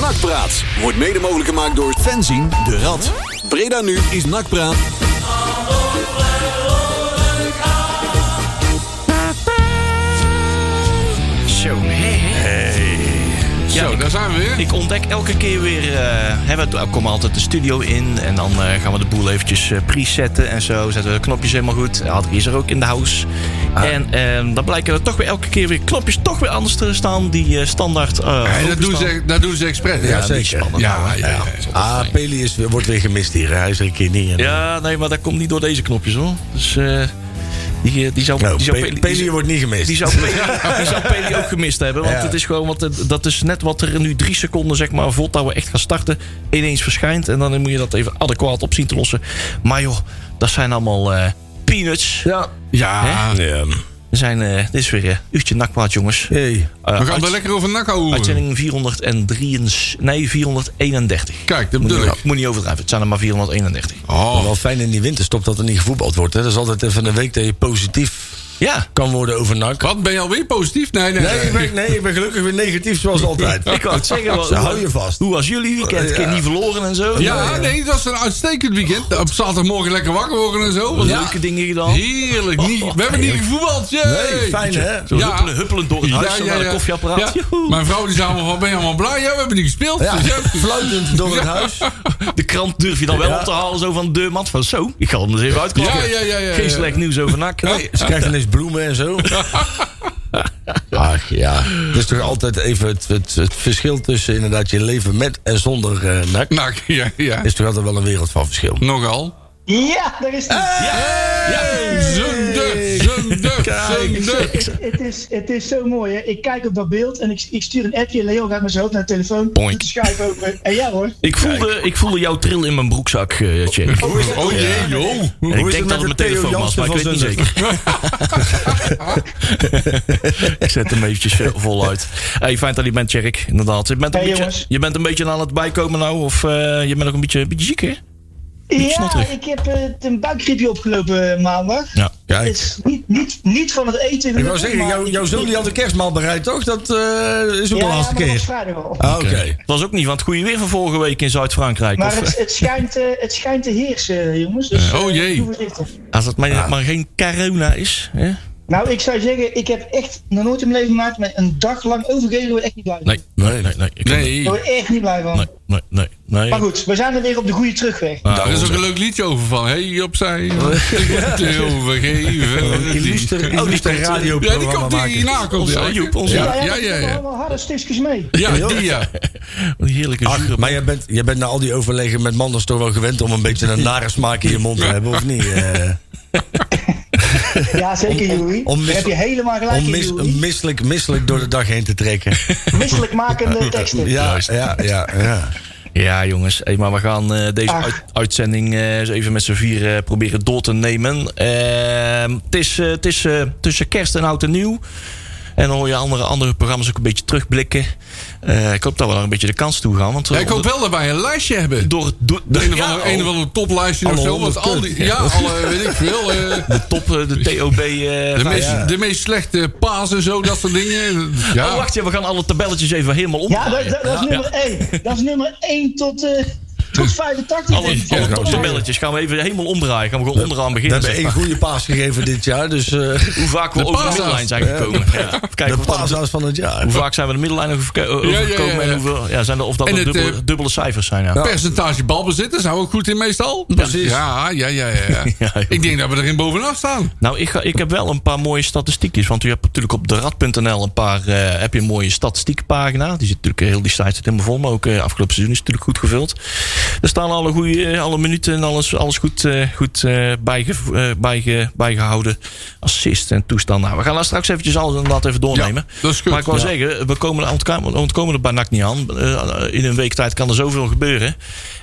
Nakpraat wordt mede mogelijk gemaakt door Fenzien de Rad. Breda nu is Nakpraat. Zo, hé. Ja, Zo, ik- daar zijn we weer. Ik ontdek elke keer weer. eh, hè, we we komen altijd de studio in. En dan eh, gaan we de boel eventjes eh, presetten en zo. Zetten we de knopjes helemaal goed. Adrie is er ook in de house. Ah. En ehm, dan blijken er toch weer elke keer weer knopjes toch weer anders te staan. Die eh, standaard. eh, Hey, dat, openstaan. doen ze, dat doen ze expres. Ja, Ja, niet zeker. spannend. Ja, nou, hè. ja, ja. dat is altijd Ah, fijn. Peli is, wordt weer gemist hier. Hij is er een keer niet. En, Ja, nee, maar dat komt niet door deze knopjes hoor. Dus eh, die, eh, die zou, Nou, die zou Pe- Peli- Peli wordt niet gemist. Die zou, Peli, die zou Peli ook gemist hebben. Want Ja. het is gewoon, want het- dat is net wat er nu drie seconden, zeg maar, voordat we echt gaan starten, ineens verschijnt. En dan moet je dat even adequaat op zien te lossen. Maar joh, dat zijn allemaal eh, peanuts. ja. Ja, ja. Er zijn, eh, dit is weer een uurtje nakwaad, jongens. Eh, Hey. we gaan uit- wel lekker over Nakka hoeren. Uitzending 403, nee, 431. Kijk, dat Moet bedoel niet, ik. moet niet overdrijven, het zijn er maar 431. Oh, Wel fijn in die winterstop dat er niet gevoetbald wordt. Hè. Dat is altijd even een week dat je positief Ja, kan worden over NAC. wat, ben je alweer positief? Nee, nee, Nee, ik ben, nee, ik ben gelukkig weer negatief zoals altijd. ik wou het zeggen. Zo, hou je vast. Hoe was jullie weekend? Ik heb niet verloren en zo. Eh, Ja, nee, het was een uitstekend weekend. Op zaterdagmorgen lekker wakker worden en zo. Was Leuke dingen gedaan. Heerlijk. Niet, we hebben niet gevoetbald. Yay. Nee, fijn hè? Zo Ja. huppelen, huppelend door het huis zo naar de koffieapparaat. Ja. Joehoe. Mijn vrouw die zei allemaal van, ben je allemaal blij? Ja, we hebben niet gespeeld. Ja, Dus ja. fluitend door het huis. De krant durf je dan wel op te halen zo van de deurmat. Van zo, ik ga hem er eens even uitklappen. Ja, ja, ja, ja, ja. Geen slecht nieuws over NAC. Nee. Ze krijgt ineens bloemen en zo. Ach ja. Dus toch altijd even het, het, het verschil tussen inderdaad je leven met en zonder eh, NAC. Nou, ja, ja. Is toch altijd wel een wereld van verschil. Nogal. Ja, daar is die. Eh, Hey, Zunde, zunde, zunde. Het, het is, het is zo mooi. Hè? Ik kijk op dat beeld en ik, ik stuur een appje. Leo gaat met zijn hoofd naar de telefoon. Boink. Doet de schijf open. En Eh, ja hoor. Ik, voelde, ik voelde jouw trill in mijn broekzak, eh Tjerk. Oh jee, joh. En ik denk is het dat het met mijn de Theo telefoon was, Jansen maar ik weet van niet Zundert? zeker. ik zet hem eventjes eh, voluit. Hey, fijn dat je bent, Tjerk. Inderdaad. Je bent, een Hey, beetje, jongens. je bent een beetje aan het bijkomen nou. Of eh, je bent ook een beetje, een beetje ziek, hè? Ja, snotterig. ik heb eh, een buikgriepje opgelopen eh, maandag. Ja. Het Kijk. is niet, niet, niet van het eten. Ik gelukkig, wou zeggen, maar jou, ik- jouw zoon die had een kerstmaal bereid, toch? Dat eh, is ook Ja, de laatste maar dat was keer. vrijdag al. Ah, Oké. Het was ook niet van het goede weer van vorige week in Zuid-Frankrijk. Maar Of, het, eh, het, schijnt, eh, het schijnt te heersen, jongens. Dus, Oh, eh, jee. doe voorzichtig. Als het maar, maar geen corona is. Hè? Nou, ik zou zeggen, ik heb echt nog nooit in mijn leven gemaakt. Maar een dag lang overgeven word ik echt niet blij van. Nee, nee, nee. nee, ik kan niet. Nee, Daar word ik echt niet blij van. nee, nee, nee, nee. Maar goed, we zijn er weer op de goede terugweg. Ah, daar is ook onzin. een leuk liedje over van. Hey, opzij. Ik word heel vergeven. Illustre, komt, illustre eh, Ja, die komt die nou. radioprogramma hierna komt Onze die. Joep, onze Ja, Joep. ja, Ik ja. heb ja. allemaal harde stukjes mee. Ja, die ja. Een heerlijke zure Ach, maar jij bent, jij bent na al die overleggen met Manders toch wel gewend om een beetje een nare smaak in je mond te hebben, of niet? Eh, Ja, zeker, Joey. om mis- Daar heb je helemaal gelijk om in, mis, Joey. misselijk, misselijk door de dag heen te trekken. Misselijkmakende teksten. Ja, ja, ja. ja. Ja, jongens. Hey, maar we gaan eh, deze Ach. uit- uitzending eh, eens even met z'n vier eh, proberen door te nemen. Ehm, Het is, eh, het is eh, tussen kerst en oud en nieuw. En dan hoor je andere, andere programma's ook een beetje terugblikken. Eh, ik hoop dat we daar een beetje de kans toe gaan. Want we- Ja, Ik hoop wel dat wij een lijstje hebben. door het do- De een of ja, oh. andere, een of andere toplijstje of Alle zo. Want al honderd die, ja, alle, weet ik veel. eh, de top, eh, de TOB. eh, de, vijf- meest, de meest slechte paas en zo, dat soort dingen. Ja. Oh, wacht, ja, we gaan alle tabelletjes even helemaal om. Ja, dat, dat, dat is nummer 1. Dat is nummer 1 tot, eh, tot 85. Alle, denk ik. alle Ja, top ja. tabelletjes gaan we even helemaal omdraaien. Gaan we gewoon onderaan We beginnen. hebben zeg één maar. goede paas gegeven dit jaar, dus eh, Hoe vaak we De over de paashaas. middellijn zijn gekomen. Ja. Even kijken de of dat- paashaas van het jaar. hoe vaak zijn we de middellijn nog overke- overgekomen. Ja, ja, ja, ja. En hoeveel, ja, zijn er, of dat En er het, dubbele, eh, dubbele cijfers zijn. Ja. Percentage balbezitten zijn we ook goed in meestal. Precies. Ja, ja, ja, ja. Ja, joh. ik denk dat we erin bovenaf staan. Nou, ik, ga, ik heb wel een paar mooie statistiekjes. Want u hebt natuurlijk op derad.nl een paar eh, heb je een mooie statistiekpagina. Die zit natuurlijk eh, heel die site zit helemaal vol. Maar ook eh, afgelopen seizoen is het natuurlijk goed gevuld. Er staan alle, goede, eh, alle minuten en alles, alles goed, eh, goed eh, bijge, eh, bijge- bijgehouden. Assist en toestand. Nou, we gaan daar straks eventjes alles inderdaad even doornemen. dat is goed. Maar ik wou Ja. zeggen, we komen, ontkomen, ontkomen er bij NAC niet aan. Eh, in een week tijd kan er zoveel gebeuren.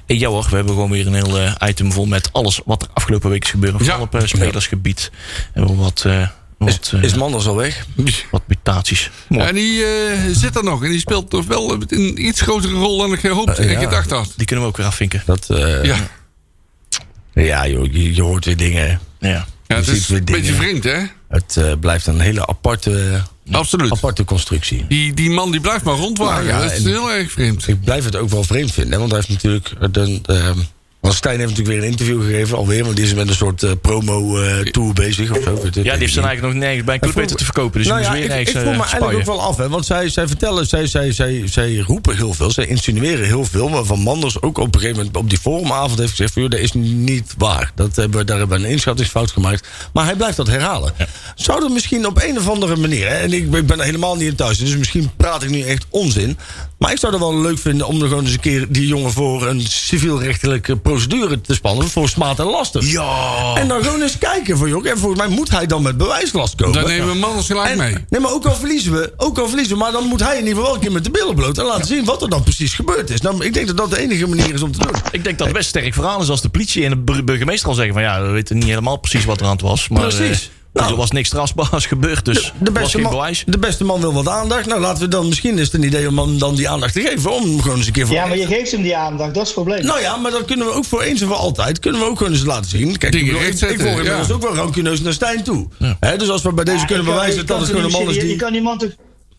En ja hoor, we hebben gewoon weer een heel eh, item vol met alles wat er afgelopen week is gebeurd. Vooral Ja. op eh, spelersgebied. En wel wat, eh wat, eh, Is Manders al weg? wat mutaties. Mooi. En die eh, zit er nog. En die speelt toch wel een iets grotere rol dan ik gehoopt Eh, en ja. gedacht had. Die kunnen we ook weer afvinken. Dat, eh, ja. Ja, joh, je, je hoort weer dingen. hè. Ja. ja het ziet is weer een beetje dingen. vreemd, hè? Het eh, blijft een hele aparte, Absoluut. aparte constructie. Die, die man die blijft maar rondwaaien. Nou ja, dat is en- heel erg vreemd. Ik blijf het ook wel vreemd vinden, hè, want hij heeft natuurlijk. De, ehm, want Stijn heeft natuurlijk weer een interview gegeven, alweer, want die is met een soort eh, promo-tour bezig of zo. ik weet het Ja, die heeft niet. zijn eigenlijk nog nergens bij een club weten te verkopen. Dus die nou ja, moest weer ik, ik nergens voel me eh, eigenlijk spuien. ook wel af, hè, want zij, zij vertellen, zij, zij, zij, zij roepen heel veel, zij insinueren heel veel, maar Van Manders ook op een gegeven moment op die forumavond heeft gezegd: van, joh, dat is niet waar. Dat hebben, we- daar hebben we een inschattingsfout gemaakt. Maar hij blijft dat herhalen. Zou dat misschien op een of andere manier, hè, en ik, ben- ik ben er helemaal niet in thuis, dus misschien praat ik nu echt onzin, maar ik zou het wel leuk vinden om er gewoon eens een keer die jongen voor een civielrechtelijke procedure te spannen voor smaad en laster. Ja. En dan gewoon eens kijken van joh, en volgens mij moet hij dan met bewijslast komen. Daar nemen we mannen gelijk En- mee. Nee, maar ook al verliezen we, ook al verliezen we, maar dan moet hij in ieder geval wel een keer met de billen bloot en laten zien wat er dan precies gebeurd is. Nou, ik denk dat dat de enige manier is om te doen. Ik denk dat het best sterk verhaal is als de politie en de bur- burgemeester al zeggen van ja, we weten niet helemaal precies wat er aan het was. Maar, Precies. eh, Nou. er was niks strafbaars gebeurd, dus De er was beste, geen man, bewijs. de beste man wil wat aandacht. Nou, laten we dan misschien is het een idee om hem dan die aandacht te geven. Om hem gewoon eens een keer voor. Ja, maar je geeft hem die aandacht, dat is het probleem. Nou ja, maar dan kunnen we ook voor eens en voor altijd. Kunnen we ook gewoon eens laten zien. Kijk, Dingen ik, bedoel, ik, ik rechtzetten, volg inmiddels ja. ook wel rancuneus naar Stijn toe. Hè, dus als we bij deze Ja, kunnen je kan- bewijzen je dat het kan toch gewoon een niet man is serieus- die. Je kan die man toch...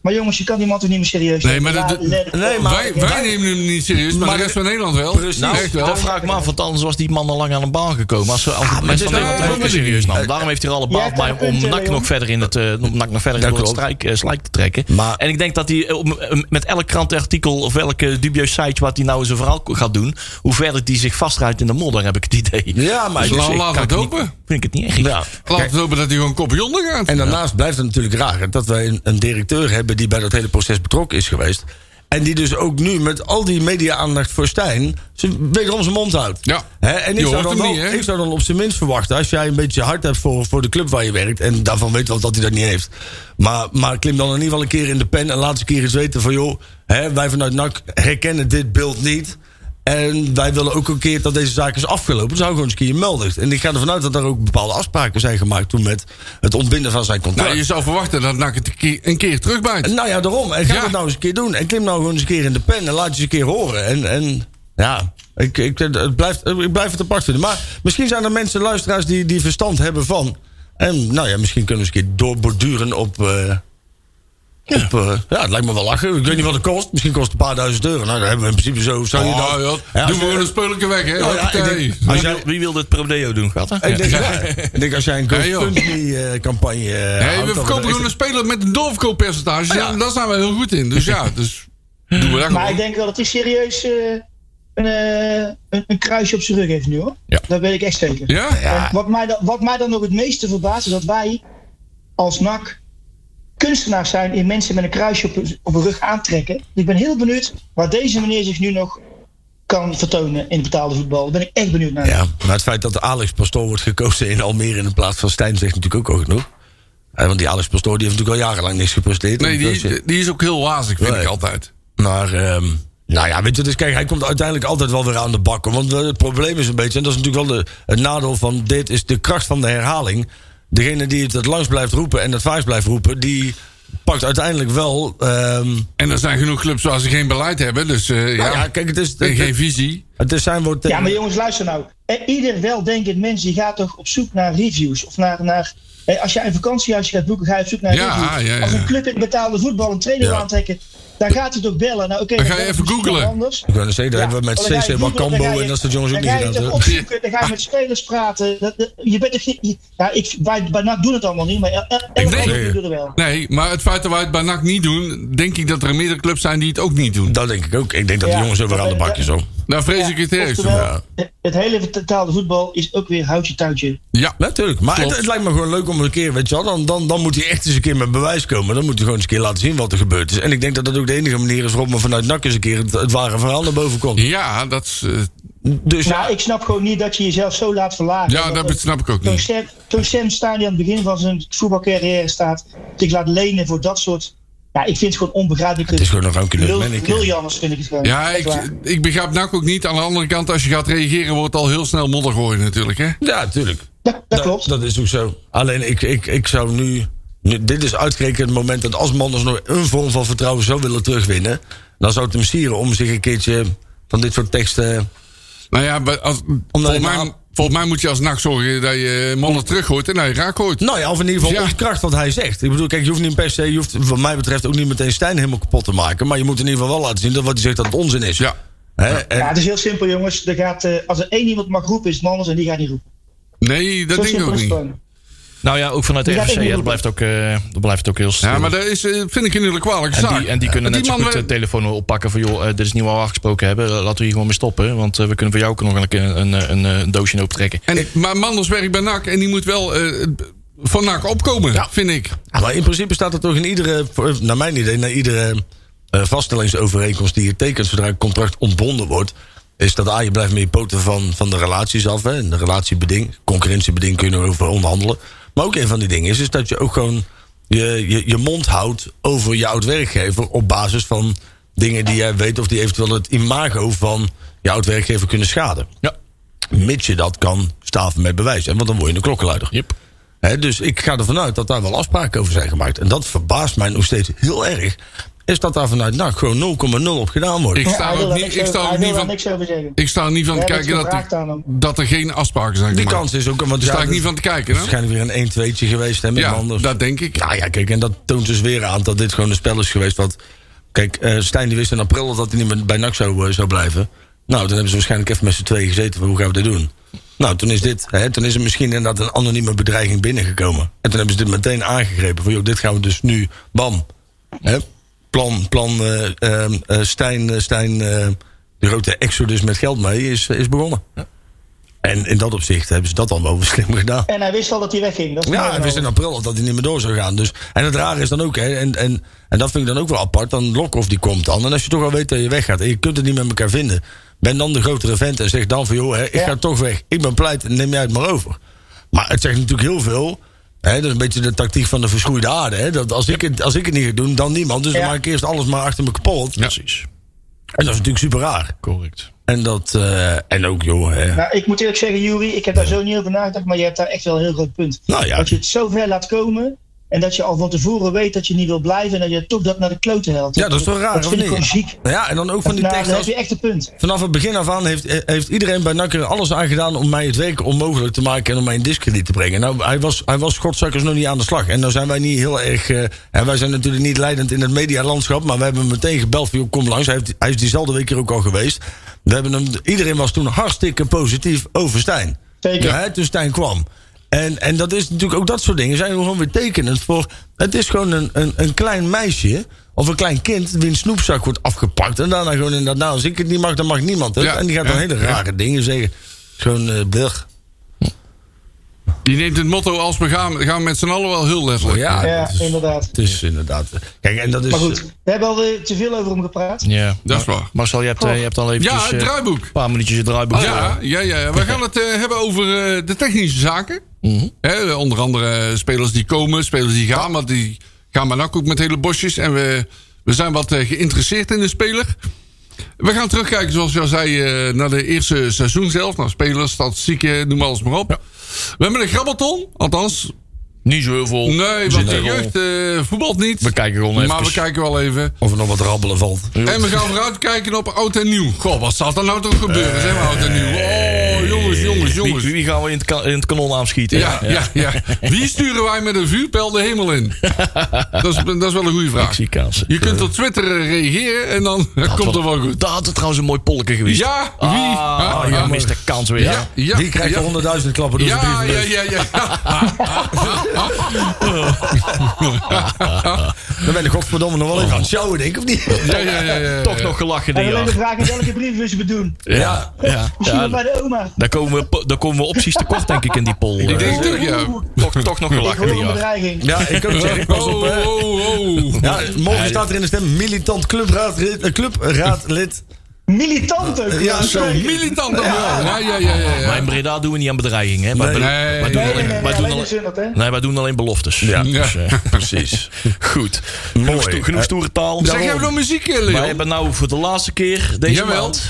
Maar jongens, je kan die man toch niet meer serieus Nee, nemen? maar dat- Laat- let- Nee, maar- laat- Wij, wij nemen hem niet serieus, maar, Maar- de rest van Nederland wel. Precies. Nou, echt wel. Dat vraag ik me af, want anders was die man al lang aan een baan gekomen. Als, als het mensen van is- Nederland nou, ook weet ik serieus niet. nam. Daarom heeft hij er alle Jij baat hebt daar bij een om punt, NAC eh, nog Leon. verder in het, eh, om NAC nog verder door het klopt. strijk, eh, slijk te trekken. Maar- en ik denk dat hij op- eh, met elk krantenartikel of welke dubieus site wat hij nou in zijn verhaal gaat doen, hoe verder hij zich vastrijdt in de modder, heb ik het idee. Ja, maar Dus laat- ik laat kan het niet- open. Vind ik het niet echt. Ja. Laten we hopen dat hij gewoon kopje onder gaat. En daarnaast blijft het natuurlijk raar hè, dat wij een, een directeur hebben die bij dat hele proces betrokken is geweest. En die dus ook nu met al die media-aandacht voor Stijn. ze- wederom zijn mond houdt. Ja. Hè, en Je ik zou, hoort dan hem wel- niet, hè? ik zou dan op zijn minst verwachten. als jij een beetje hard hebt voor, voor de club waar je werkt. en daarvan weet wel dat hij dat niet heeft. Maar, maar klim dan in ieder geval een keer in de pen. en laat eens een keer eens weten van. joh, hè, wij vanuit NAC herkennen dit beeld niet. En wij willen ook een keer dat deze zaak is afgelopen. Dus hou gewoon eens een keer je meldigt. En ik ga ervan uit dat er ook bepaalde afspraken zijn gemaakt. toen met het ontbinden van zijn contract. Nou, je zou verwachten dat NAC het een keer- een keer terugbijt. Nou ja, daarom. En ga Ja. dat nou eens een keer doen. En klim nou gewoon eens een keer in de pen en laat je eens een keer horen. En, en ja, ik, ik, het blijft, ik blijf het apart vinden. Maar misschien zijn er mensen, luisteraars, die, die verstand hebben van. En nou ja, misschien kunnen we eens een keer doorborduren op... eh, op, eh, ja, het lijkt me wel lachen. Ik weet niet wat het kost. Misschien kost het een paar duizend euro. Nou, daar hebben we in principe zo... Zou je Oh, dan, ja, Ja, doen als we je- gewoon een spelletje weg, hè? Nou ja, ik Hoppatee. denk- Wie, Als wil, jij- wie wil dit prodeo doen, gaat hè? Ik denk, Ja. ja, ik denk als jij een eh, Ja, joh. GoFundMe-campagne... Hey, we verkopen gewoon een speler met een doorverkooppercentage. Ah, ja. En daar zijn we heel goed in. Dus ja, dus doen we dat Maar ik gewoon. denk wel dat hij serieus eh, een, eh, een, een kruisje op zijn rug heeft nu hoor. Ja. Dat weet ik echt zeker. Ja? En Wat, mij dan, wat mij dan nog het meeste verbaast is dat wij als NAC kunstenaars zijn in mensen met een kruisje op, hun- op hun rug aantrekken. Ik ben heel benieuwd waar deze meneer zich nu nog kan vertonen in het betaalde voetbal. Daar ben ik echt benieuwd naar. Ja, maar het feit dat Alex Pastoor wordt gekozen in Almere in plaats van Stijn zegt natuurlijk ook al genoeg. Eh, want die Alex Pastoor die heeft natuurlijk al jarenlang niks gepresteerd. Nee, die, Dus, eh, is- die is ook heel wazig, vind Nee. ik altijd. Maar, ehm, nou ja, weet je, dus kijk, hij komt uiteindelijk altijd wel weer aan de bak. hoor. Want eh, het probleem is een beetje, en dat is natuurlijk wel de, het nadeel van dit, is de kracht van de herhaling. Degene die het het langst blijft roepen en het vaakst blijft roepen, die pakt uiteindelijk wel. ehm, En er zijn genoeg clubs waar ze geen beleid hebben. Dus eh, nou ja, ja, kijk, het is. en Het, geen visie. het is zijn woord. Ja, maar jongens, luister nou. Eh, Ieder weldenkend mens die gaat toch op zoek naar reviews. Of naar, naar eh, als je een vakantiehuisje gaat boeken, ga je op zoek naar Ja, reviews. ja, ja. Als een club in betaalde voetbal een trainer Ja. wil aantrekken, dan gaat hij toch bellen. Nou, oké, Dan ga bel je ik even misschien googlen. nog Anders. Ik wou net zeggen, dat hebben Ja, we dan met ga je CC googlen, dan ga Macambo je- en dat soort jongens ook dan niet ga je gedaan. het hè? opzoeken, Dan ga je met spelers praten. Dat, dat- je bent toch niet- ja, ik, wij, bij NAC doen het allemaal niet, maar el, el, elk denk- ander doet het wel. Nee, maar het feit dat wij het bij NAC niet doen... denk ik dat er meerdere clubs zijn die het ook niet doen. Dat denk ik ook. Ik denk dat de Ja, jongens er weer aan de bak is. hoor. Daar vrees Ja, ik het ergst. oftewel, voor. het- Het hele vertaalde voetbal is ook weer houtje touwtje. Ja, Natuurlijk, maar het, Klopt. het lijkt me gewoon leuk om een keer, weet je wel, dan, dan, dan moet hij echt eens een keer met bewijs komen. Dan moet hij gewoon eens een keer laten zien wat er gebeurd is. En ik denk dat dat ook de enige manier is waarop men vanuit NAC eens een keer het, het ware verhaal naar boven komt. ja dat is... eh, Dus ja, Nou, ik snap gewoon niet dat je jezelf zo laat verlagen. Ja, dat snap ik ook Zo'n niet. Sam, zo'n Sam Stein die aan het begin van zijn voetbalcarrière staat, zich laat lenen voor dat soort. Ja, ik vind het gewoon onbegrijpelijk. het is gewoon een rancuneus manneke. Miljanners vind ik het gewoon. Ja, Echt ik, waar. ik begrijp NAC ook niet. Aan de andere kant, als je gaat reageren... wordt het al heel snel modder gooien natuurlijk, hè? Ja, tuurlijk. Ja, dat, klopt. Dat is ook zo. Alleen ik, ik, ik zou nu, nu- Dit is uitgerekend het moment dat als Manders nog een vorm van vertrouwen zou willen terugwinnen. dan zou het hem sieren om zich een keertje van dit soort teksten. Nou ja, maar als, Om daar volgens een mij nou- naam- Volgens mij moet je als nacht zorgen dat je mannen teruggooit en dat je raak gooit. Nou ja, of in ieder geval Ja. ontkracht wat hij zegt. Ik bedoel, kijk, je hoeft niet per se, je hoeft wat mij betreft ook niet meteen Stijn helemaal kapot te maken. Maar je moet in ieder geval wel laten zien dat wat hij zegt dat het onzin is. Ja. Hè? En- Ja, het is heel simpel, jongens. Er gaat, eh, als er één iemand mag roepen, is het Manders en die gaat niet roepen. Nee, dat Zo denk ik simpel ook is het niet. gewoon. Nou ja, ook vanuit de Die gaat RVC. ook hè, niet Dat blijft ook, eh, dat blijft ook heel stil. Ja, maar dat is, eh, vind ik een hele kwalijke En zaak. die, en die kunnen net zo man goed de werd- telefoon oppakken van... joh, eh, dit is niet wat we afgesproken hebben. Eh, Laten we hier gewoon mee stoppen. Want eh, we kunnen voor jou ook nog een, keer een, eh, een, eh, een doosje in opentrekken. en, maar Manders werkt bij NAC en die moet wel eh, van NAC opkomen, vind ik. Ah, Maar in principe staat dat toch in iedere, eh, naar mijn idee, naar iedere eh, vaststellingsovereenkomst die je tekent zodra een contract ontbonden wordt. Is dat A, je blijft met je poten van, van de relaties af. Hè? En de relatiebeding, concurrentiebeding kun je nog over onderhandelen. Maar ook een van die dingen is, is dat je ook gewoon je, je, je mond houdt over je oud-werkgever. op basis van dingen die jij weet of die eventueel het imago van je oud-werkgever kunnen schaden. Ja. Mits je dat kan staven met bewijs. Hè? Want dan word je een klokkenluider. Yep. Hè, dus ik ga ervan uit dat daar wel afspraken over zijn gemaakt. En dat verbaast mij nog steeds heel erg. Is dat daar vanuit nou gewoon 0,0 op gedaan wordt. Ik Ja, sta hij wil ook daar niet, niks ik over- sta hij ook wil niet daar van, niks over zeggen. ik sta er niet van te Jij bent kijken dat, gevraagd aan hem. er- dat er geen afspraken zijn die gemaakt. kans is ook... Want er sta ik niet van te kijken, hè? Waarschijnlijk weer een 1-2'tje geweest hè, met Ja, anders. dat denk ik. Nou ja, kijk, en dat toont dus weer aan dat dit gewoon een spel is geweest. Wat, kijk, eh, Stijn die wist in april al dat hij niet meer bij NAC zou, eh, zou blijven. Nou, dan hebben ze waarschijnlijk even met z'n tweeën gezeten. van, Hoe gaan we dit doen? Nou, toen is dit, hè, toen is er misschien inderdaad een anonieme bedreiging binnengekomen. En toen hebben ze dit meteen aangegrepen. Van, joh, dit gaan we dus nu, bam. Hè? Plan, plan, eh, ehm, eh, Stijn, eh, Stijn eh, de grote exodus met geld mee is, eh, is begonnen. En in dat opzicht hebben ze dat al wel slim gedaan. En hij wist al dat hij wegging. Dat is Ja, niet hij wist in april al dat hij niet meer door zou gaan. Dus, en het rare is dan ook, hè, en, en, en dat vind ik dan ook wel apart, dan Lokhoff die komt dan. En als je toch al weet dat je weggaat en je kunt het niet met elkaar vinden... ben dan de grotere vent en zeg dan van, joh, hè, ik Ja. ga toch weg. Ik ben pleit, neem jij het maar over. Maar het zegt natuurlijk heel veel... Hè, dat is een beetje de tactiek van de verschroeide aarde. Hè? Dat als, ik het, als ik het niet ga doen, dan niemand. Dus Ja. dan maak ik eerst alles maar achter me kapot. Precies. En dat is natuurlijk super raar. Correct. En, dat, eh, en ook, joh... Hè. Nou, ik moet eerlijk zeggen, Juri, ik heb daar zo niet over nagedacht, maar je hebt daar echt wel een heel groot punt. Nou ja. Dat je het zo ver laat komen en dat je al van tevoren weet dat je niet wil blijven en dat je toch dat naar de kloten helpt. Ja, dat is toch raar, Dat of vind niet? ik gewoon ziek. Nou ja, en dan ook van Nou, die tekst dan heb als- je echt een punt. Vanaf het begin af aan heeft, eh, heeft iedereen bij Nakker alles aan gedaan om mij het werk onmogelijk te maken en om mij in discrediet te brengen. Nou, hij was, hij was godzakkers nog niet aan de slag. En nou zijn wij niet heel erg. eh, en wij zijn natuurlijk niet leidend in het medialandschap, maar we hebben hem meteen gebeld van joh, kom langs. Hij, heeft, hij is diezelfde week hier ook al geweest. We hebben hem, iedereen was toen hartstikke positief over Stijn. Zeker. Ja, hè, toen Stijn kwam. En, en dat is natuurlijk ook dat soort dingen. Zijn gewoon weer tekenend voor. Het is gewoon een, een, een klein meisje. Of een klein kind. wiens snoepzak wordt afgepakt. En daarna gewoon inderdaad. Nou, als ik het niet mag, dan mag niemand het. Ja, en die gaat ja, dan hele ja. rare dingen zeggen. Zo'n eh blech. Die neemt het motto als we gaan, gaan we met z'n allen wel heel letterlijk. Oh Ja, Ja, dat is- inderdaad. Het is inderdaad. eh, Kijk, en dat is. Maar goed, we hebben al eh, te veel over hem gepraat. Ja. Dat is waar. Marcel, je hebt, eh, je hebt al eventjes... Ja, het eh, draaiboek. Ah, Een paar minuutjes het draaiboek. Ja, ja, ja, ja. We gaan het eh, hebben over eh, de technische zaken. Mhm. Hè, onder andere eh, spelers die komen, spelers die gaan. Want die gaan maar ook met hele bosjes. En we, we zijn wat eh, geïnteresseerd in de speler. We gaan terugkijken, zoals je al zei, eh, naar de eerste seizoen zelf. Naar spelers, statistieken, noem alles maar op. We hebben een grabbelton. Althans, Niet zo heel veel. nee, want de jeugd eh, voetbalt niet. We kijken gewoon even. Oh, maar we kijken wel even. Of er nog wat rabbelen valt. En we gaan vooruitkijken op oud en nieuw. Goh, wat zal er nou toch gebeuren, zeg maar, oud en nieuw. Oh, jongens, jongens, Wie, jongens. wie gaan we in het, ka- in het kanon aanschieten? Ja, ja, ja. Wie sturen wij met een vuurpijl de hemel in? Dat is, dat is wel een goede vraag. zie kansen. Je kunt op Twitter eh, reageren en dan komt het wel goed. Dat had het trouwens een mooi polken geweest. Ja, wie? Ah, Ah, je ah. mist de kans weer. Ja, ja, Die krijgt ja. er honderdduizend klappen door zijn Ja, ja, brievenbus. ja, ja. Dan ben ik godverdomme nog wel even aan het sjouwen, denk ik, of niet? Ja, ja, ja, ja. Toch nog gelachen En die alleen de jaar. vraag is welke brievenbus we doen. Ja, ja. Misschien Ja, wel bij de oma. daar, komen we, po- daar komen we opties tekort, denk ik, in die poll. Ik eh. denk toch, ja. toch, toch nog Ik gelachen hoor die een jaar. bedreiging. Ja, ik ook zeg. Pas op, hè. Oh, oh, oh. Ja, morgen staat er in de stem militant clubraadlid. eh, clubraadlid. Militant ook. Ja, dat is zo. leuk. Militant dan wel. Ja, ja, ja, ja. Maar ja. in Breda doen we niet aan bedreigingen. Hè? Maar Nee. wij, wij doen Nee, nee, alleen, nee, wij doen alleen de alleen, Zundert, hè? nee, wij doen alleen beloftes. Ja, Ja. precies. Goed. Genoeg, Mooi. sto- genoeg stoere taal. Zeg, jij nog muziek, eh, Wij Leon? hebben nou voor de laatste keer deze Jawel. maand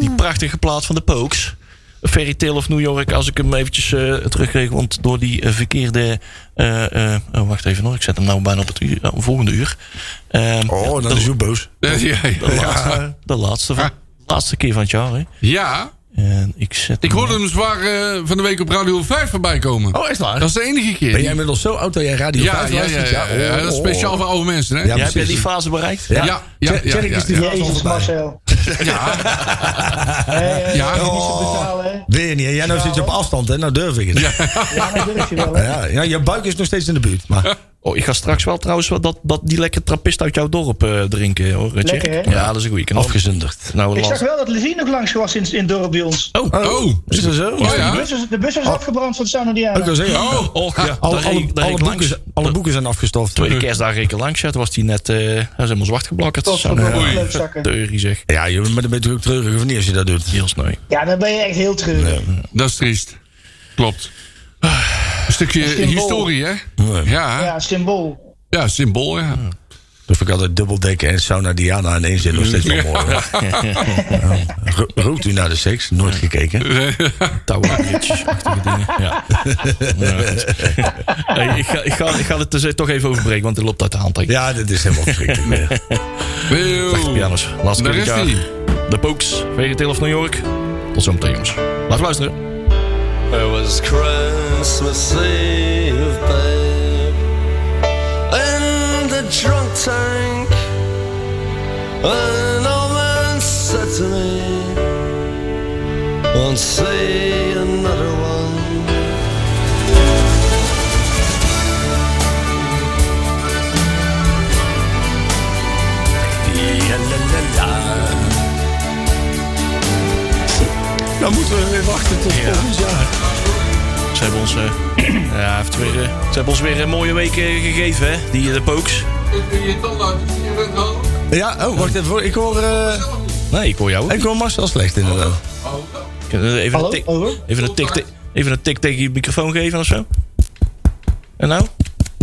die prachtige plaat van de Pokes. Fairy Tale of New York, als ik hem eventjes eh, terugkreeg. Want door die eh, verkeerde... eh, eh, oh, wacht even nog. Ik zet hem nou bijna op het uur, eh, volgende uur. Ehm, Oh, dan is u boos. Ja, ja, eh, de, ja. laatste, de laatste, van, laatste keer van het jaar. Hè. Ja, En ik zet Ik hem- hoorde hem zwaar eh, van de week op Radio 5 voorbij komen. Oh, echt waar? Dat is de enige keer. Ben jij inmiddels zo oud dat jij Radio ja, 5 ja, ja, luistert? ja, Oh, ja, dat is speciaal voor oude mensen, hè? Ja, Jij bent precies. die fase bereikt? Ja, Ja, ja, Tjer- ja, Tjerk ja, is die ja. fase al Jezus voorbij. Marcel. Ja, Eh, Ja. Niet zo Oh. betalen, hè? Wil je niet, hè? Ja, nou zit je op afstand, hè? Nou durf ik het. Ja. Ja, dat durf je wel, hè? Ja, je buik is nog steeds in de buurt. Maar Oh, ik ga straks wel trouwens wel dat, dat die lekkere trappist uit jouw dorp eh, drinken, hoor. Tjerk. Lekker, hè? Ja, dat is een goeie. Kan afgezunderd. Nou, Ik laat- zag wel dat Levine nog langs was in, in het dorp bij ons. Oh. Is dat zo? Oh, De ja. bus was, de bus was afgebrand van San Ook al Diego. zei je. Oh. Och, ja. daar Alle, alle, reed- daar alle reed ik boeken, langs. zijn- alle boeken zijn afgestoft. Tweede kerstdag reken langs. Ja, toen was hij net. eh, hij is helemaal zwart geblakkerd. Tot Zo'n van de Oei. leukzakken. theorie zeg. Ja, je bent een beetje ook treurig of niet als je dat doet. Heel sneu. Ja, dan ben je echt heel treurig. dat is triest. Klopt. Een stukje symbool. historie, hè? Nee. Ja, hè? Ja, symbool. ja, symbool, ja. Dat vind ik altijd dubbeldekken en sauna Diana in één zin nog steeds wel mooi. hoor. Ro- Rookt u naar de seks? Nooit gekeken. Touwlaagjes-achtige dingen. Ja. Nou, goed. Hey, ik, ga, ik, ga, ik ga het dus toch even overbreken, want het loopt uit de hand. Ja. Ja, dit is helemaal verschrikkelijk. weer. Eeuw. Pianos. Laatste Daar keer is dit hij. jaar. De Pokes. VGTL of New York. Tot zometeen, jongens. Laten we luisteren. It was Christmas Eve, babe, in the drunk tank. An old man said to me, "Won't see another one." Dan moeten we weer wachten tot volgend jaar. Ze hebben ons, eh, ja, heeft weer, eh, ze hebben ons weer een mooie week eh, gegeven, hè? Die eh, de Pokes. Ja, oh, wacht even. hoor. Ik hoor, eh, Nee, ik hoor jou. Oh. ik hoor Marcel slecht inderdaad. eh, Even Hallo? een tik, Hallo? even een tik, te- even een tik tegen je microfoon geven of zo. En nou?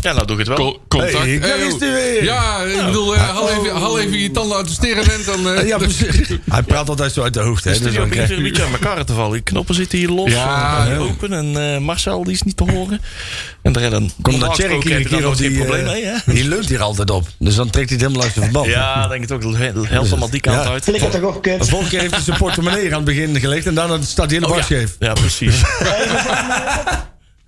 Ja, nou doe ik het wel. Co- Contact. Hey, daar Eeuw. is hij weer. Ja, ik bedoel, eh, haal, even, haal even je tanden uit de sterrenwind. Dan, eh, Eh, Ja, precies. Hij praat altijd zo uit de hoogte. Hè, dus Studio dan begint krijg weer een beetje aan elkaar te vallen. Die knoppen zitten hier los. Ja, eh, joh. open. En eh, Marcel, die is niet te horen. En daar dan Komt dat Cherry iedere keer op die... geen probleem eh, mee, hè? Die leunt hier altijd op. Dus dan trekt hij het helemaal uit zijn verband. Ja, denk het ook. Het helpt allemaal die kant Ja. uit. Flikker toch op, kut. Vorige keer heeft hij zijn portemonnee aan het begin gelegd en daarna staat hij hele Oh, bar ja. scheef. ja, precies.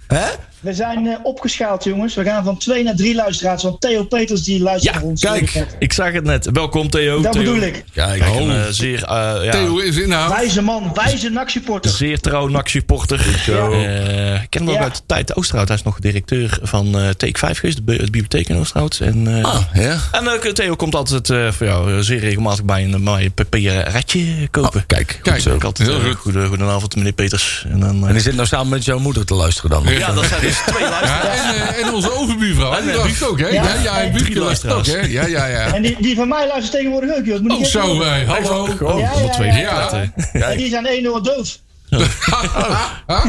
Hè? We zijn eh, opgeschaald, jongens. We gaan van twee naar drie luisteraars. Want Theo Peters die luistert Ja, naar ons. kijk. Ik zag het net. Welkom Theo. Dat Theo. bedoel ik. Kijk, Kijk, een oh. eh, zeer, eh, ja, Theo is in nou. de hout. Wijze man, wijze NAC-supporter. zeer trouw NAC-supporter. Eh, ik ken hem ook Ja. uit de tijd Oosterhout. Hij is nog directeur van eh Take 5 geweest, de, bi- het bibliotheek in Oosterhout. En, eh, Ah, ja. en ook, eh, Theo komt altijd eh, voor jou eh, zeer regelmatig bij een mooi papieren ratje kopen. Oh, kijk, goed Kijk, zo. Ik altijd, Heel eh, goed. goede, goedenavond, meneer Peters. En dan, eh, En die zit nou samen met jouw moeder te luisteren dan. ja, dat zijn dus twee luisteraars. Ja, en, eh, en onze overbuurvrouw, die En, eh, luistert ook, hè? Ja, Ja, ja, en en Buurtje drie luistert ook, hè? luisteraars. Ja, ja, ja. En die, die van mij luistert tegenwoordig ook, joh. Dat moet Oh, ik even zo, doen. eh, hallo. Oh, Ja, allemaal ja, twee ja, gepraat, ja. hè. En die zijn één oor doof.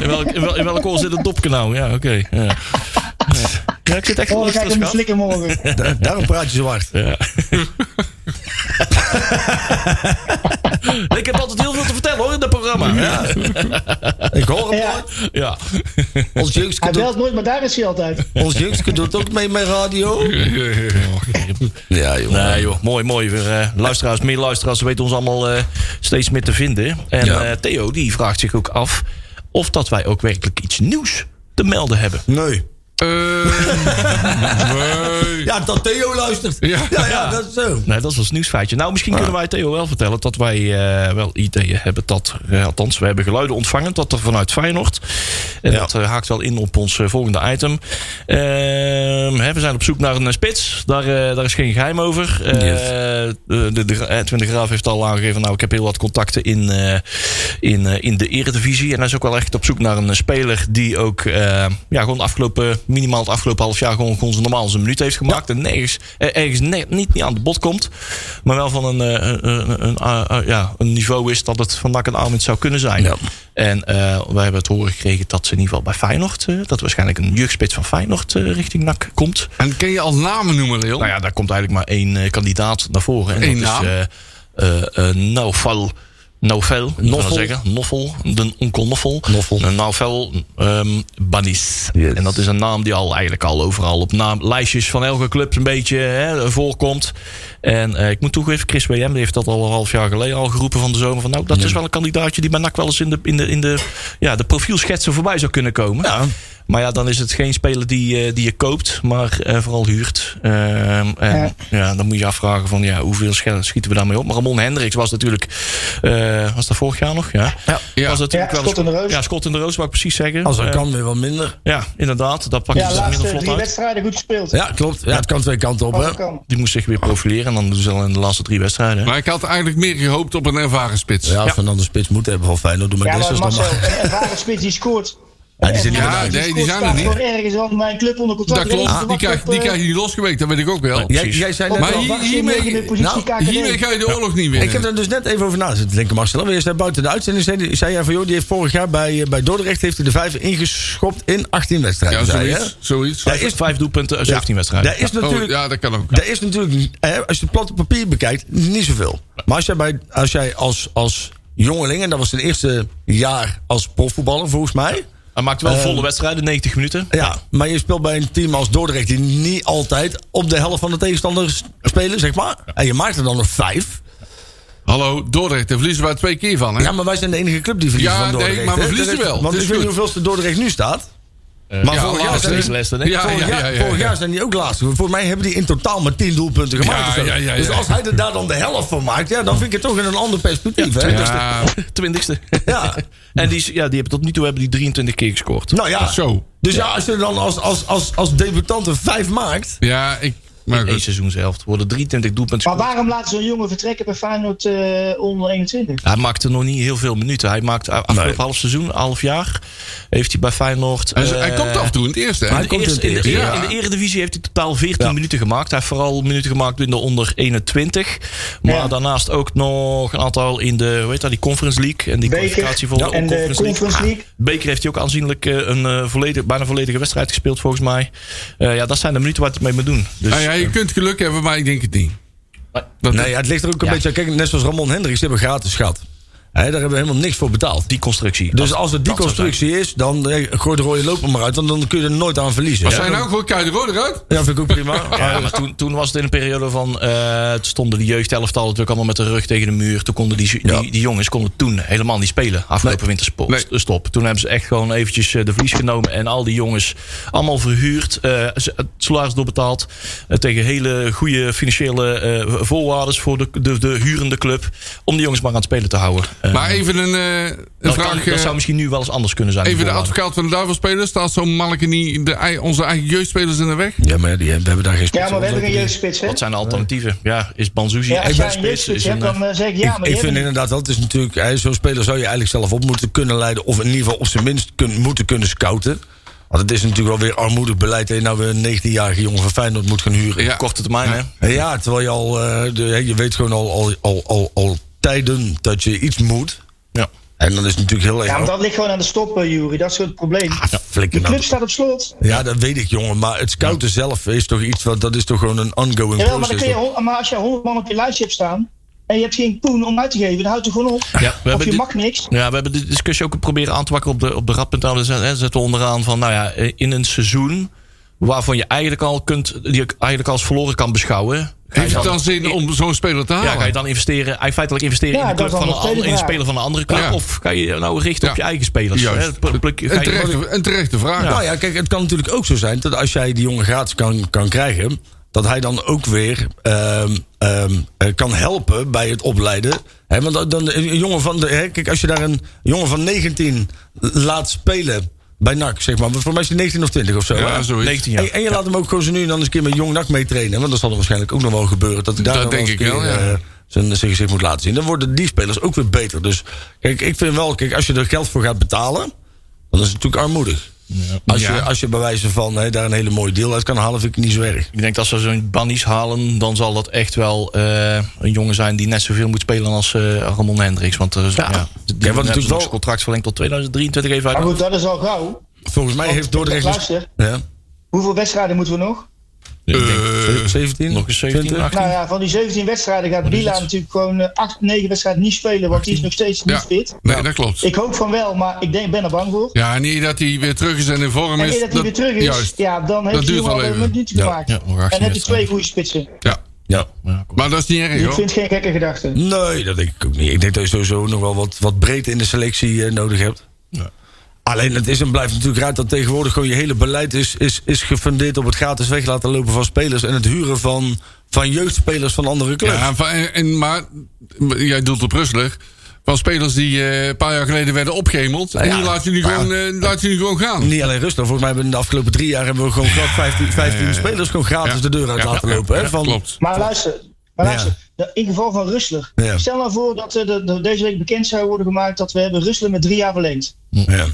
In welk, in wel- in welk oor zit een dopkanaal? Ja, oké. ja. Ja. Ja, ik zit echt te Oh, dan ga ik luisteren, hem schat. flikken morgen. Da- Eh, daarom praat je zwart. Ik heb altijd heel veel te vertellen hoor in dat programma. Ja. Ik hoor hem Ja. nooit. ja. Ons Hij jeugdske doet, belt nooit, maar daar is hij altijd. ons jeugdske doet ook mee met radio. Ja, joh. Nee joh, mooi, mooi. Weer, eh, luisteraars, meer luisteraars weten ons allemaal eh, steeds meer te vinden. En Ja. eh, Theo die vraagt zich ook af of dat wij ook werkelijk iets nieuws te melden hebben. Nee. Eh, nee. Ja, dat Theo luistert. Ja. Ja, ja, dat is zo. Nee, dat is ons nieuwsfeitje. Nou, misschien kunnen wij Theo wel vertellen dat wij eh, wel ideeën hebben dat... eh, althans, we hebben geluiden ontvangen dat er vanuit Feyenoord... en dat eh, haakt wel in op ons eh, volgende item. Ehm, hè, we zijn op zoek naar een eh, spits. Daar, eh, daar is geen geheim over. Eh, Yes. eh, de, de, Edwin de Graaf heeft al aangegeven... nou, ik heb heel wat contacten in, eh, in, eh, in de eredivisie. En hij is ook wel echt op zoek naar een eh, speler... die ook eh, ja, gewoon de afgelopen, minimaal het afgelopen half jaar... gewoon, gewoon zijn normaal zijn minuut heeft gemaakt. En nergens, eh, ergens net niet, niet aan de bod komt. Maar wel van een, eh, een, een, een, ah, ah, ja, een niveau is dat het van nak en Armin zou kunnen zijn. Ja. En eh wij hebben het horen gekregen dat ze in ieder geval bij Feyenoord... eh, dat waarschijnlijk een jeugdspits van Feyenoord eh, richting NAC komt. En kun je al namen noemen, Leon? Nou ja, daar komt eigenlijk maar één eh, kandidaat naar voren. En Eén dat naam? is eh eh eh Naufal Novel, ik Noffel. kan het zeggen. Noffel, de onkel Noffel. Noffel. En Novel ehm Banis. Yes. En dat is een naam die al eigenlijk al overal op naamlijstjes van elke club een beetje hè, voorkomt. En eh, ik moet toegeven, Chris WM die heeft dat al een half jaar geleden al geroepen van de zomer. Van, nou, dat is wel een kandidaatje die bij NAC wel eens in de, in de, in de, ja, de profielschetsen voorbij zou kunnen komen. Maar ja, dan is het geen speler die, eh, die je koopt, maar eh, vooral huurt. Ehm, en ja. Ja. dan moet je je afvragen van ja, hoeveel sche- schieten we daarmee op. Maar Ramon Hendricks was natuurlijk, eh, was dat vorig jaar nog? Ja, Ja. was natuurlijk Ja, wel eens- schot in de roos. Ja, schot in de roos, wou ik precies zeggen. Als dat Eh, kan, weer wat minder. ja, inderdaad, dat pakte Ja, ze minder laatste vlot drie uit. wedstrijden goed gespeeld. Ja, klopt. Ja, het kan twee kanten op, Als dat hè? kan. Die moest zich weer profileren en dan doen ze al in de laatste drie wedstrijden. hè. Maar ik had eigenlijk meer gehoopt op een ervaren spits. Ja, als we dan de spits moeten hebben van Feyenoord, doe maar Ja, deze maar dan Marcel, eh, maar. een ervaren spits die scoort. dus Ja, die zit niet Ja, meer uit. nee, die zijn er niet. voor ergens al mijn club onder contract. Dat Die klopt, heeft die te krijg, wachten die op, eh, krijg je niet losgeweekt, dat weet ik ook wel. Jij, precies. jij zei op net Maar de al- hier- wacht- hiermee- in de positie nou, KKD. Hiermee ga je de oorlog niet winnen. Ik heb er dus net even over na zitten denken, Marcel. Alweer eerst buiten de uitzending zei, zei jij van... joh, die heeft vorig jaar bij, eh, bij Dordrecht heeft hij de vijf ingeschopt in 18 wedstrijden. Ja, zei je, hè? zoiets. zoiets. Vijf- vijf doelpunten, uit 17 wedstrijden. Daar is Ja. Oh, natuurlijk... ja, dat kan ook. Daar is natuurlijk, eh, als je het plat op papier bekijkt, niet zoveel. Maar als jij, bij, als, jij als, als jongeling, en dat was zijn eerste jaar als profvoetballer volgens mij. Hij maakt wel Ehm. Eh, volle wedstrijden, 90 minuten. Ja, maar je speelt bij een team als Dordrecht die niet altijd op de helft van de tegenstanders spelen, zeg maar. En je maakt er dan nog vijf. Hallo, Dordrecht, daar verliezen we twee keer van, hè? Ja, maar wij zijn de enige club die verliezen Ja, van nee, Dordrecht. maar we hè. verliezen Dat is- wel. Want Het ik is weet niet goed. Eh, hoeveeld de Dordrecht nu staat. maar ja, vorig jaar laatste. zijn die- Leicester, hè? Ja, vorig ja, jaar- ja, ja, vorig ja. jaar zijn die ook laatste. Volgens mij hebben die in totaal maar 10 doelpunten gemaakt. Ja, of zo. ja, ja, ja. Dus als hij er daar dan de helft van maakt, ja, dan vind ik het toch in een ander perspectief. hè. Dus- Ja, Twintigste. Ja. En die, is- ja, die hebben tot nu toe hebben die 23 keer gescoord. Nou ja. Zo. Dus ja, als je dan als, als, als, als debutant een vijf maakt. ja, ik... Maar In één goed. seizoenshelft worden 23 doelpunten Maar gescoord. waarom laat zo'n jongen vertrekken bij Feyenoord eh, onder 21? Hij maakte nog niet heel veel minuten. Hij maakte afgelopen half seizoen, half jaar, heeft hij bij Feyenoord... Hij, hij eh, komt af en toe in het eerste, hè? hij komt eerst- in het in, de, eerste. in Ja. de Eredivisie heeft hij totaal 14 Ja. minuten gemaakt. Hij heeft vooral minuten gemaakt in de onder 21. Maar Ja. daarnaast ook nog een aantal in de, hoe heet dat, die Conference League. En die Beker. kwalificatie voor Ja. de En de Conference League. Conference League. Ah, Beker heeft hij ook aanzienlijk eh, een eh, volledig, bijna volledige wedstrijd gespeeld volgens mij. Eh, ja, dat zijn de minuten waar hij het mee moet doen. Dus, Ah, ja, je kunt geluk hebben, maar ik denk het niet. Dat- Nee, ja, het ligt er ook een Ja. beetje aan. Kijk, net zoals Ramon Hendricks, die hebben gratis gehad. Hè, daar hebben we helemaal niks voor betaald. Die constructie. Dus als het die dat zou constructie is, dan eh, gooi de rode loper maar uit. Want dan kun je er nooit aan verliezen. Maar Ja, zijn nou gewoon Kuij de Rode eruit? Ja, vind ik ook prima. Ja, maar toen, toen was het in een periode van. eh het stonden de jeugdelftal natuurlijk allemaal met de rug tegen de muur. Toen konden die, die, die jongens konden toen helemaal niet spelen. Afgelopen wintersport. Nee. Stop. Toen hebben ze echt gewoon eventjes eh, de verlies genomen. En al die jongens allemaal verhuurd. eh, ze- het salaris doorbetaald. eh, tegen hele goede financiële eh, voorwaarden voor de, de, de hurende club. Om die jongens maar aan het spelen te houden. Eh, Maar even een, eh, een dat, kan- vraag. dat eh, zou misschien nu wel eens anders kunnen zijn. die even de voorwaarden. advocaat van de duivel spelen. Staat zo'n manneke niet de, ei- onze eigen jeugdspelers in de weg? Ja, maar ja, die, we hebben daar geen spits Ja, maar we voor. hebben een jeugdspits, hè? Wat zijn de alternatieven? Ja, is Banzuzi Ja, echt als een jij een spits? jeugdspits Is een, hebt, eh, dan eh, zeg ik ja, ik, maar ik die vind hebben- inderdaad, dat is natuurlijk. hè, Zo'n speler zou je eigenlijk zelf op moeten kunnen leiden. Of in ieder geval op zijn minst kun- moeten kunnen scouten. Want het is natuurlijk wel weer armoedig beleid dat je nou weer een 19-jarige jongen van Feyenoord moet gaan huren. eh, Ja. korte termijn, hè? Ja, terwijl je al, eh, de- hè, je weet gewoon al, al, al, al, al tijden dat je iets moet. Ja. En dan is het natuurlijk heel erg. Ja, maar dat ligt gewoon aan de stop, eh, Jury. Dat is gewoon het probleem. Ah, flikker De nou. club staat op slot. Ja, dat weet ik, jongen. Maar het scouten zelf is toch iets wat. Dat is toch gewoon een ongoing Jawel, maar, dan process. kun je, toch? hon- maar als je 100 man op je lijstje hebt staan. en je hebt geen poen om uit te geven, dan houdt het gewoon op. hebben of je dit- mag niks. Ja, we hebben de discussie ook proberen aan te wakkeren op de, op de rad.nl. Dus, hè, zetten we onderaan van, nou ja, in een seizoen waarvan je eigenlijk al kunt, die je eigenlijk als verloren kan beschouwen. ga je Heeft het dan zin om zo'n speler te halen? Ja, ga je dan investeren, eigenlijk feitelijk investeren Ja, in, de dat club van is een, dan nog an- steeds in een waar. speler van een andere club? Ja. Of ga je nou richten op Ja. je eigen spelers? hè? Juist. Pluk- pluk- eh, ga Een je- terechte, een terechte vraag. Nou ja, kijk, het kan natuurlijk ook zo zijn dat als jij die jongen gratis kan, kan krijgen. dat hij dan ook weer ehm, ehm, eh, kan helpen bij het opleiden. Hè, want dan- dan, een jongen van de, hè, kijk, als je daar een jongen van 19 laat spelen bij NAC, zeg maar. Voor mij is hij 19 of 20 of zo. hè? Ja, zoiets. 19 jaar. En, en je laat hem ook gewoon zo nu en dan eens een keer met Jong NAC mee trainen. Want dat zal er waarschijnlijk ook nog wel gebeuren. Dat hij daar Dat dan denk eens ik een wel, keer, ja. eh, zijn, zijn gezicht moet laten zien. Dan worden die spelers ook weer beter. Dus kijk, ik vind wel, kijk, als je er geld voor gaat betalen... dan is het natuurlijk armoedig. Als, Ja. je, als je bij wijze van hè, daar een hele mooie deal uit kan halen... vind ik niet zo erg. Ik denk dat als ze zo'n bannies halen, dan zal dat echt wel eh, een jongen zijn die net zoveel moet spelen als eh, Ramon Hendricks. Want er is, ja. die natuurlijk hebben ze wel- nog contract verlengd tot 2023 even uit. Maar goed, dat is al gauw. Volgens mij Want heeft Dordrecht... dus- luister. Ja. Hoeveel wedstrijden moeten we nog? Ik denk Eh, 17? nog eens 17, 20? 18. Nou ja, van die 17 wedstrijden gaat Bila natuurlijk gewoon eh, acht, 9 wedstrijden niet spelen, want die is nog steeds niet ja. fit. Nee, dat klopt. Ik hoop van wel, maar ik denk, ben er bang voor. Ja, niet dat hij weer terug is en in vorm En is. eer dat hij weer terug is, Juist. ja, dan Dat heeft hij duurt wel wel een even. minuutje Ja, gemaakt. ja, nog 18 en heb je twee wedstrijden. goede spitsen. Ja. Ja. Ja, kom. Maar dat is niet erg, Ik hoor. vind het geen gekke gedachte. Nee, dat denk ik ook niet. Ik denk dat je sowieso nog wel wat, wat breedte in de selectie eh, nodig hebt. Ja. Alleen het is en blijft natuurlijk raar dat tegenwoordig gewoon je hele beleid is, is, is gefundeerd op het gratis weg laten lopen van spelers en het huren van, van jeugdspelers van andere clubs. Ja, van- en, en- maar jij doelt op Rusler. Van spelers die eh, een paar jaar geleden werden opgehemeld. Nou en ja, die laten jullie, maar ja. gewoon, eh, laten jullie gewoon gaan. Niet alleen Rusland, volgens mij hebben we in de afgelopen drie jaar hebben we gewoon glad 15, 15 spelers gewoon gratis Ja. de deur uit Ja, laten ja, lopen. hè, ja, van, klopt. Maar luister, maar Ja. luister de- in geval van Rustler. Ja. Stel nou voor dat eh, de- de- deze week bekend zou worden gemaakt dat we hebben Rustler met drie jaar verlengd. Ja.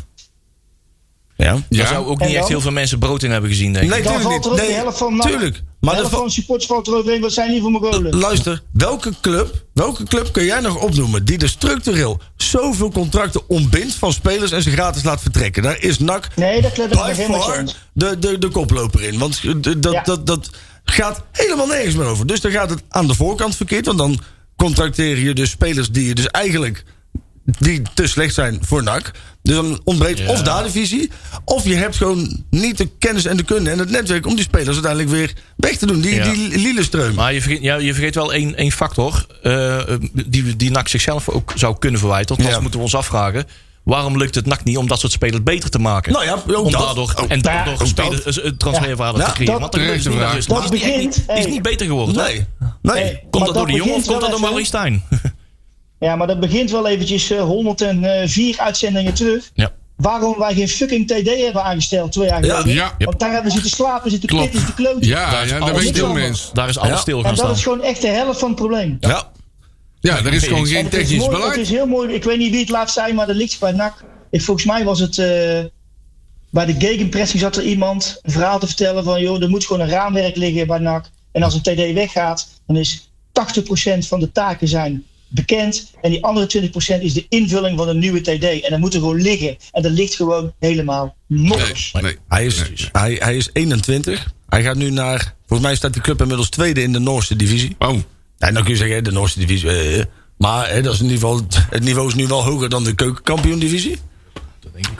ja. Daar Ja. zou ook En niet echt dan? heel veel mensen brood in hebben gezien, denk ik. Nee, Dan tuurlijk valt er ook niet. de Nee, helft van... nou, tuurlijk. De Maar helft dat van supporters valt er overheen, wat zijn die voor Mongolen? Luister, welke club, welke club kun jij nog opnoemen die er structureel zoveel contracten ontbindt van spelers en ze gratis laat vertrekken? Daar is NAC Nee, dat klopt nog by helemaal far eens. de, de, de koploper in. Want eh, d- dat, Ja. dat, dat gaat helemaal nergens meer over. Dus dan gaat het aan de voorkant verkeerd, want dan contracteer je dus spelers die je dus eigenlijk die te slecht zijn voor NAC. Dus dan ontbreekt of daar de visie... of je hebt gewoon niet de kennis en de kunde en het netwerk... om die spelers uiteindelijk weer weg te doen. Die, Ja. die Lilleström. Maar je vergeet, ja, je vergeet wel één, één factor eh, die, die NAC zichzelf ook zou kunnen verwijten. Want Ja. dat moeten we ons afvragen. Waarom lukt het NAC niet om dat soort spelers beter te maken? Nou ja, ook om dat. daardoor, en Ook dat. daardoor Ook spelers- eh, transferwaarde Ja. te creëren. Dat- Want dat lukt terechte niet. vraag. Dus Dat Maas die echt begint, niet- die is hey. niet beter geworden. toch? Nee. Nee. Nee. Komt Maar dat door de jongen dat of begint komt dat door wel Marie even. Stijn? Ja, maar dat begint wel eventjes eh, 104 uitzendingen terug. ja. Waarom wij geen fucking TD hebben aangesteld twee jaar Ja. geleden. Ja. Want daar hebben we zitten slapen, zitten Klopt. pitten, zitten kloten. Ja, ja, daar ben ik alles het heel mee anders. eens. Daar is alles Ja. stil En gaan dat staan. is gewoon echt de helft van het probleem. Ja. Ja, er is gewoon En geen En het is technisch mooi, Het beleid. is heel mooi. Ik weet niet wie het laatst zei, maar dat ligt bij NAC. Ik, volgens mij was het. eh, bij de gegenpressing zat er iemand een verhaal te vertellen van. joh, er moet gewoon een raamwerk liggen bij NAC. En als een TD weggaat, dan is 80% van de taken zijn bekend. En die andere 20% is de invulling van een nieuwe TD. En dat moet er gewoon liggen. En dat ligt gewoon helemaal Nee, nog. nee. Hij, is, hij, hij is 21. Hij gaat nu naar... Volgens mij staat die club inmiddels tweede in de Noorse divisie. Oh, En dan kun je zeggen, hè, de Noorse divisie... eh, eh. maar hè, dat is in ieder geval, het niveau is nu wel hoger dan de keukenkampioen divisie.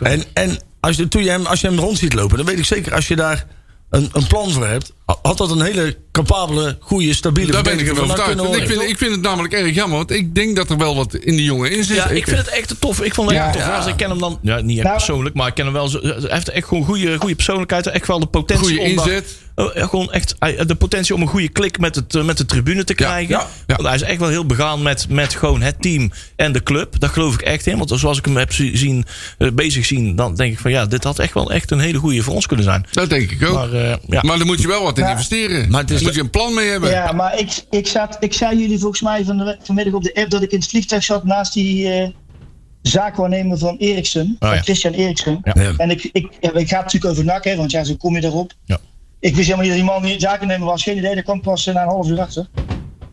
En, en als, je, toen je hem, als je hem rond ziet lopen, dan weet ik zeker... als je daar een, een plan voor hebt... had dat een hele capabele, goede, stabiele... daar ben ik verdediger van van NAC overtuigd. kunnen Want Ik worden. vind, ik vind het namelijk erg jammer, want ik denk dat er wel wat in die jongen in zit. eh, Ja, ik vind het echt een tof. Ik vond het echt een tof. Als ik ken hem dan, ja, niet echt Nou. persoonlijk, maar ik ken hem wel. zo- eh, Hij heeft echt gewoon goede, goede persoonlijkheid. Echt wel de potentie. Goede om daar- inzet. eh, gewoon echt eh, de potentie om een goede klik met, het, eh, met de tribune te krijgen. ja, ja. Want hij is echt wel heel begaan met, met gewoon het team en de club. Daar geloof ik echt in. Want zoals ik hem heb zi- zien, eh, bezig zien, dan denk ik van ja, dit had echt wel echt een hele goede voor ons kunnen zijn. Dat denk ik ook. Maar Maar, eh, ja. daar moet je wel wat in investeren. Maar het is- daar moet je een plan mee hebben. Ja, maar ik, ik, zat, ik zei jullie volgens mij van de, vanmiddag op de app dat ik in het vliegtuig zat naast die eh, zaakwaarnemer van Eriksen, van ja. Christian Eriksen. Ja. En ik, ik, ja, ik ga het natuurlijk over NAC, hè, want ja, zo kom je erop. Ja. Ik wist helemaal niet dat die man die zakennemer was, geen idee, dat kwam pas eh, na een half uur achter.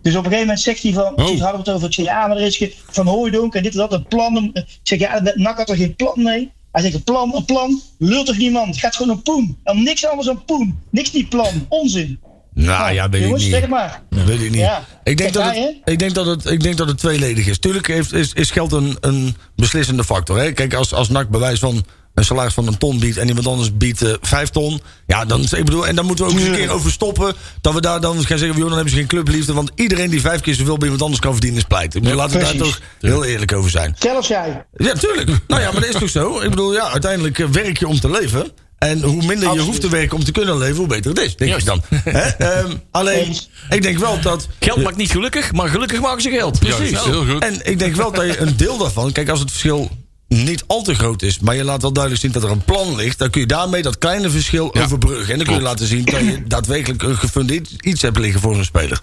Dus op een gegeven moment zegt hij van, toen hadden we het over, ik zeg ja, maar er is geen- van Hooijdonk en dit en dat, een plan. een- Ik zeg ja, dat- NAC had er geen plan mee. Hij zegt een plan, een plan, lult toch niemand, het gaat gewoon om poen. Om niks anders dan poen, niks niet plan, onzin. Nou ja, weet ik Jongens, zeg niet. het maar. Dat weet ik niet. Ja. Ik, denk Kijk, dat daar, het, ik, denk dat het, ik denk dat het tweeledig is. Tuurlijk heeft, is, is geld een, een beslissende factor. Hè? Kijk, als, als NAC bewijs van een salaris van een ton biedt... en iemand anders biedt eh, vijf ton... Ja, dan, is- ik bedoel, en dan moeten we ook eens een keer over stoppen... dat we daar dan gaan zeggen... joh, dan hebben ze geen clubliefde... want iedereen die vijf keer zoveel bij iemand anders kan verdienen is pleit. Ik bedoel, laten we daar precies. toch heel eerlijk over zijn. Zelfs jij. Ja, tuurlijk. Nou ja, maar dat is toch zo? Ik bedoel, ja, uiteindelijk eh, werk je om te leven. En hoe minder je Absoluut. hoeft te werken om te kunnen leven, hoe beter het is. Denk ik dan. Hè? Ehm, alleen, Eens. ik denk wel dat. Geld maakt niet gelukkig, maar gelukkig maken ze geld. Juist, heel goed. En ik denk wel dat je een deel daarvan. Kijk, als het verschil niet al te groot is, maar je laat wel duidelijk zien dat er een plan ligt, dan kun je daarmee dat kleine verschil overbruggen. En dan kun je laten zien dat je daadwerkelijk een gefundeerd iets hebt liggen voor zo'n speler.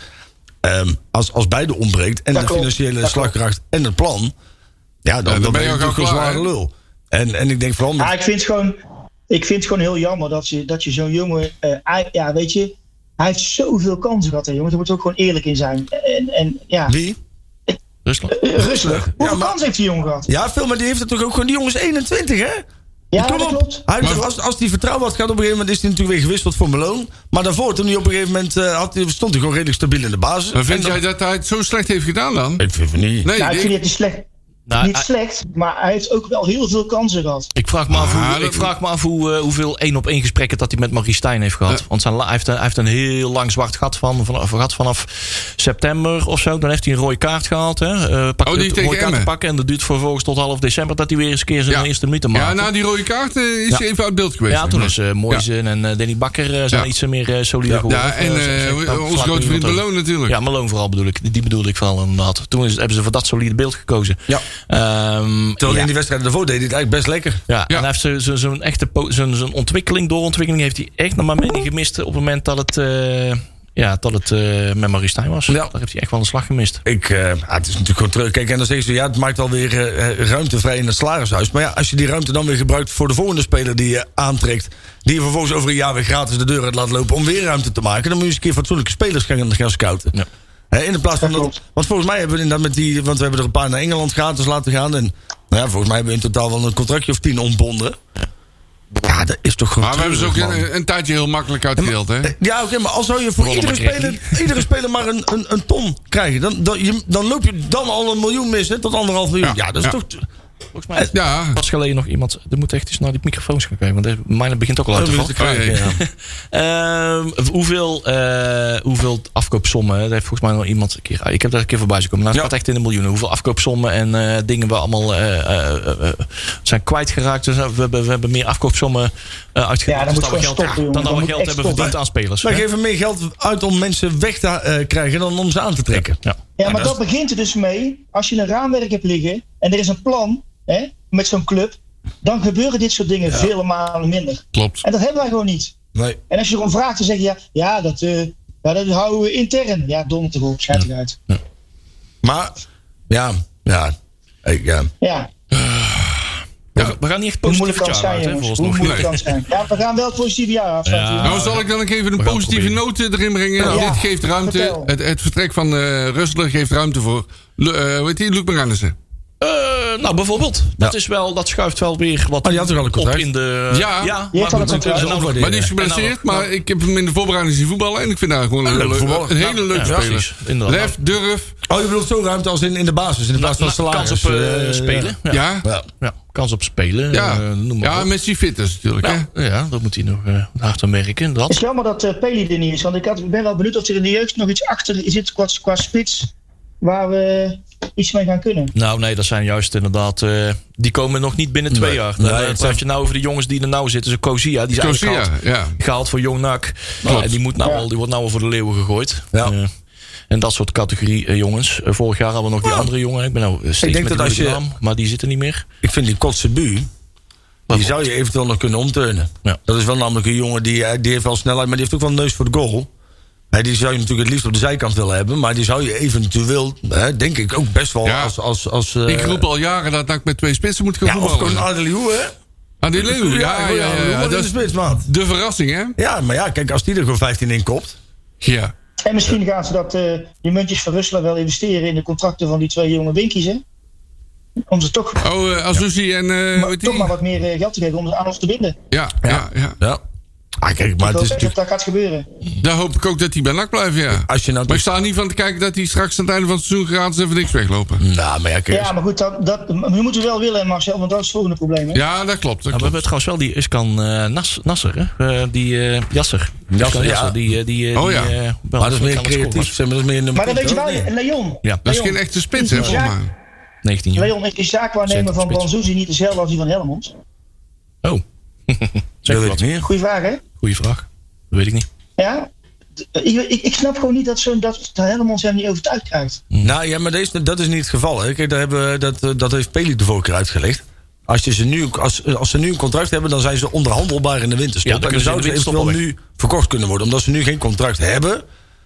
Ehm, als, als beide ontbreekt en Dat de klopt, financiële dat klopt. slagkracht en het plan, ja, dan, dan dan ben ben je je ook natuurlijk al een klaar, zware hè? lul. En, en ik denk vooral met Ja, Ah, ik vind het gewoon, ik vind het gewoon heel jammer dat je, dat je zo'n jongen. eh, hij- ja, weet je, hij heeft zoveel kansen gehad, hè, jongen. Daar moet ook gewoon eerlijk in zijn. En, en ja, Eh, wie? Rusland. rustig. Hoeveel maar- kansen heeft die jongen gehad? Ja, veel, maar die heeft het toch ook gewoon die jongens 21, hè? Ja, Kom dat op. klopt. Hij, Maar- als, als hij vertrouwen had gehad, op een gegeven moment is hij natuurlijk weer gewisseld voor Malone. Maar daarvoor, toen hij op een gegeven moment eh, had, hij- stond hij gewoon redelijk stabiel in de basis. Maar vind En dan- jij dat hij het zo slecht heeft gedaan dan? Ik vind het niet. Nee, Nou, ik dit- vind het niet slecht. Nou, niet hij- slecht, maar hij heeft ook wel heel veel kansen gehad. Ik vraag me af, Ah, hoe, dat- ik vraag me af hoe, eh, hoeveel één op één gesprekken dat hij met Marie Stijn heeft gehad. Ja. Want zijn, la- hij, heeft, een- hij heeft een heel lang zwart gat van, van, gehad vanaf september of zo. Dan heeft hij een rode kaart gehaald. Hè? Eh, pak, Oh, die het- tegen rode kaart te Emmen. pakken. En dat duurt vervolgens tot half december dat hij weer eens een keer zijn Ja. eerste minuten maakt. Ja, na die rode kaart eh, is Ja. hij even uit beeld geweest. Ja, toen is eh Ja. Moijzen en eh, Danny Bakker eh, zijn Ja. iets meer eh, solide geworden. Ja, en Eh, eh, zeg- zeg- dan onze slaat grote niemand vriend over. Malone natuurlijk. Ja, Malone vooral bedoel ik. Die- Die bedoelde ik vooral inderdaad. Toen is, hebben ze voor dat solide beeld gekozen. Ja. Ehm, Terwijl ja. in die wedstrijd daarvoor deed hij het eigenlijk best lekker. Ja, Ja. en hij heeft zo- zo- zo'n echte po- zo'n zo'n ontwikkeling, doorontwikkeling heeft hij echt naar mijn mening gemist op het moment dat het, eh, ja, dat het eh met Marie Stijn was. Ja. Daar heeft hij echt wel een slag gemist. Ik, eh, ah, het is natuurlijk gewoon terug. Kijk, en dan zeggen ze, ja, het maakt alweer eh, ruimte vrij in het salarishuis. Maar ja, als je die ruimte dan weer gebruikt voor de volgende speler die je aantrekt... die je vervolgens over een jaar weer gratis de deur uit laat lopen om weer ruimte te maken... dan moet je eens een keer fatsoenlijke spelers gaan, gaan scouten. Ja. Hè, in de plaats van Dat dat, klopt. want volgens mij hebben we inderdaad met die... want we hebben er een paar naar Engeland gratis laten gaan... en nou ja, volgens mij hebben we in totaal wel een contractje of tien ontbonden. Ja, dat is toch gewoon Maar we hebben ze ook treurig, man. een, een tijdje heel makkelijk uitgedeeld, hè? Eh, Ja, oké, maar als zou je voor Ronald iedere McRae. speler, iedere speler maar een, een, een ton krijgen, dan, dan, je, dan loop je dan al een miljoen mis, hè, tot anderhalf miljoen. Ja, Ja, dat is ja. toch. Volgens mij is Ja, pas geleden nog iemand, er moet echt eens naar die microfoons gaan kijken, want de- mijne begint ook al uit te Om je vallen. te krijgen, Oh, jee. ja. Ehm, hoeveel, eh, hoeveel afkoopsommen, hè, dat heeft volgens mij nog iemand een keer, ah, ik heb daar een keer voorbij zien komen, nou, het Ja. gaat echt in de miljoenen. Hoeveel afkoopsommen en eh, dingen we allemaal eh, eh, eh, eh, zijn kwijtgeraakt. Dus, eh, we, hebben, we hebben meer afkoopsommen eh uitgegeven Ja, dan moet je we gewoon geld, stoppen, jongen. dan dat Dan we moet geld echt hebben stoppen. verdiend aan spelers. Wij hè? geven meer geld uit om mensen weg te eh, krijgen dan om ze aan te trekken. Ja. Ja, maar dat begint er dus mee. Als je een raamwerk hebt liggen en er is een plan hè, met zo'n club, dan gebeuren dit soort dingen vele malen minder. klopt. En dat hebben wij gewoon niet. Nee. En als je erom vraagt, dan zeg je ja, ja, dat, eh, ja, dat houden we intern. Ja, donder toch op, schijt eruit. Maar, ja, ja. Ik, ja. Ja, We, we gaan niet echt hoe positief moeilijk kan het jaar zijn, uit, hè, jongens? volgens Hoe nog. moeilijk kan het zijn? Ja, we gaan wel het positieve jaar afsluiten. Ja. jongens. Nou, zal ik dan ook even een We gaan het positieve noot eh, erin brengen. Ja. Dit geeft ruimte. Vertel. Het, het vertrek van eh Rustler geeft ruimte voor. Lu- eh, hoe heet die? Luc Marijnissen. Eh, nou, bijvoorbeeld. Dat, is wel, dat schuift wel weer wat Oh, die had toch al een op contract? in de... Ja. ja Die heeft al een goed, contract. er zijn ook nog- Maar die is En nou- geblesseerd. Maar ik heb hem in de voorbereiding zien voetballen. En ik vind daar gewoon een, leuke leuk- voetballer. een hele Ja, leuke ja, speler. precies. Inderdaad. Lef, durf. Oh, je bedoelt zo ruimte als in, in de basis, in de plaats van Nou, salaris. Kans op eh, eh, spelen. Ja. Ja. Ja, Ja. Ja, Kans op spelen. eh, noem maar ja op. Messi fit is natuurlijk. hè? Ja, ja, dat moet hij nog eh, hard aan werken. Het is inderdaad. jammer dat eh Peli er niet is, want ik had, ik ben wel benieuwd of er in de jeugd nog iets achter zit qua, qua spits waar we iets mee gaan kunnen. Nou, nee, dat zijn juist inderdaad. eh, die komen nog niet binnen twee Nee. jaar. Nee, Dan het heb zijn- je nou over de jongens die er nou zitten. Zo Kozia, die is Kozia, eigenlijk gehaald, ja. gehaald voor Jong NAC. Klopt. En die, moet nou Ja. al, die wordt nou al voor de leeuwen gegooid. Ja. Eh, en dat soort categorie eh, jongens. Eh, vorig jaar hadden we nog die andere jongen. Ik ben nou eh, steeds denk met dat die als je- naam, maar die zitten niet meer. Ik vind die Kotse Bu, die zou je eventueel nog kunnen omturnen. Ja. Dat is wel namelijk een jongen die, eh, die heeft wel snelheid, maar die heeft ook wel een neus voor de goal. Hè, die zou je natuurlijk het liefst op de zijkant willen hebben, maar die zou je eventueel, hè, denk ik, ook best wel Ja. als. als, als eh, Ik roep al jaren dat ik met twee spitsen moet gaan ja, of voetballen. gewoon Adelio, hè? Ah, die Leeuw. Ja, ja, ja, ja. Dat Dat de is spits, man. de verrassing, hè? Ja, maar ja, kijk, als die er gewoon 15 in kopt. Ja. En misschien gaan ze dat, eh, die muntjes van Rusland wel investeren in de contracten van die twee jonge winkies, hè? Om ze toch, Oh, eh, Azuzi en... eh, hoe maar, heet die? toch maar wat meer eh, geld te geven om ze aan ons te binden. Ja, ja, ja. Ja. Ah, kijk, maar ik het hoop is echt dat natuurlijk. dat gaat gebeuren. Daar hoop ik ook dat hij bij NAC blijft, ja. Als je nou. Maar ik sta er niet van te kijken dat hij straks aan het einde van het seizoen gratis even niks weglopen. Nou, maar ja, kijk. Ja, maar goed, dat, dat, we moeten wel willen, Marcel, want dat is het volgende probleem. Hè? Ja, dat klopt. Dat Nou, we klopt. hebben trouwens wel die Iskan eh, Nas, Nasser, hè? Eh, die eh, Jasser. Iskan ja. Jasser, die, eh, die, eh, Oh, die, ja. eh, wel maar dat is kan meer het scoren. creatief, zeg maar, dat is meer een Maar dan weet je hoor. wel, Nee. Leon. Ja, Dat is Leon, geen echte spits, hè, volgens mij. 19 jaar. Leon is die zaakwaarnemer van Centrumspits. Banzuzi niet dezelfde als die van Helmond? Oh. Dat zeg weet je ik wat. niet. Goeie vraag, hè? Goeie vraag. Dat weet ik Dus niet. Ja, d- ik, ik, ik snap gewoon niet dat, zo, dat Helmond hem niet overtuigd krijgt. Hm. Nou ja, maar deze, dat is niet het geval. Hè. Kijk, daar hebben, we- dat, eh, dat heeft Peli de voorkeur uitgelegd. Als, je ze nu, als, eh, als ze nu een contract hebben, dan zijn ze onderhandelbaar in de winterstop. Ja, dan en kunnen dan ze in zouden de ze winterstop eventueel nu verkocht kunnen worden. Omdat ze nu geen contract hebben,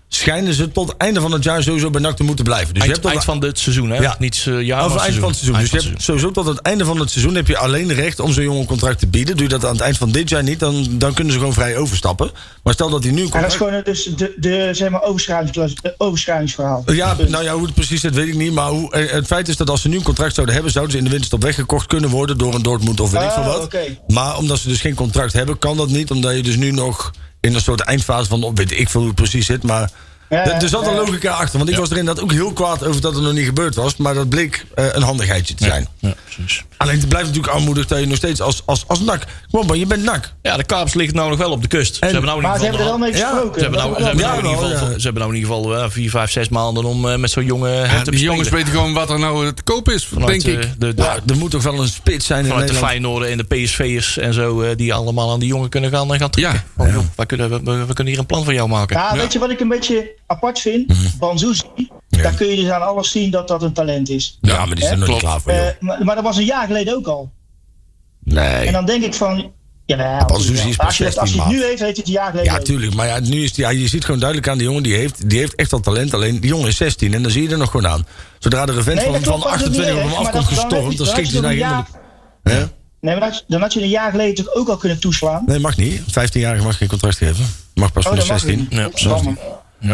schijnen ze tot het einde van het jaar sowieso bij NAC te moeten blijven. Dus je eind, hebt tot eind van dit seizoen, hè? Ja. Niet eh, jaar, Of maar eind van het seizoen. Eind Dus je van het hebt sowieso tot het einde van het seizoen heb je alleen recht om zo'n jongen een contract te bieden. Doe je dat aan het eind van dit jaar niet, dan, dan kunnen ze gewoon vrij overstappen. Maar stel dat hij nu een En dat is contract... gewoon eh, dus de, de zeg maar, overschrijvingsclaus- eh, overschrijvingsverhaal. Ja, nou ja, hoe het precies zit, weet ik niet. Maar hoe, eh, het feit is dat als ze nu een contract zouden hebben... zouden ze in de winterstop weggekocht kunnen worden door een Dortmund of weet ik Ah, veel wat. oké. Maar omdat ze dus geen contract hebben, kan dat niet. Omdat je dus nu nog in een soort eindfase van... weet ik veel hoe het precies zit, maar... Ja, er- er zat een ja. logica achter. Want ik was er inderdaad ook heel kwaad over dat het nog niet gebeurd was. Maar dat bleek eh, een handigheidje te zijn. seizoen. Ja, precies. Alleen het blijft natuurlijk armoedig dat je nog steeds als, als, als nak. Kom op, man, je bent nak. Ja, de Kaap's ligt nou nog wel op de kust. ze hebben nou in Maar ze ieder hebben er wel geval Ja, mee gesproken. Ze hebben, nou, Dat- ze, hebben Ja, nou in ieder wel, geval, ja. ze hebben nou in ieder geval eh, vier, vijf, zes maanden om eh, met zo'n jonge eh, hem te die jongens bespelen. weten gewoon wat er nou te koop is, Vanuit, denk ik. eh, de, de, Ja, er moet toch wel een spits zijn in vanuit de Nederland. Feyenoorden en de PSV'ers en zo, eh, die allemaal aan die jongen kunnen gaan, eh, gaan trekken. Ja. Van, joh, wij kunnen, we, we- we kunnen hier een plan van jou maken. Ja, weet je wat ik een beetje apart vind? Banzuzi, daar kun je dus aan alles zien dat dat een talent is. Ja, maar die zijn er nog Klopt. niet klaar voor, joh. Eh, maar, maar dat was een jaar geleden ook al. Nee. En dan denk ik van... Ja, Banzuzi dus is pas als je, dat- als 16 je het nu maat. heeft, heeft het een jaar geleden. Ja, ook. tuurlijk. Maar ja, nu is die, ja, je ziet gewoon duidelijk aan die jongen, die heeft, die heeft echt al talent. Alleen die jongen is 16 en dan zie je er nog gewoon aan. Zodra de revent Nee, van, dat van klopt, maar dat is 28 niet op hem erg, maar afkomt dat- dan gestormd, heb je- dan dan schikt hij heb daar je helemaal... nog de- Hè? Nee, maar dat, dan had je een jaar geleden toch ook al kunnen toeslaan. Nee, mag niet. 15-jarige mag geen contract geven. Mag pas Oh, vanaf dat mag 16. niet. Ja, Dat is jammer.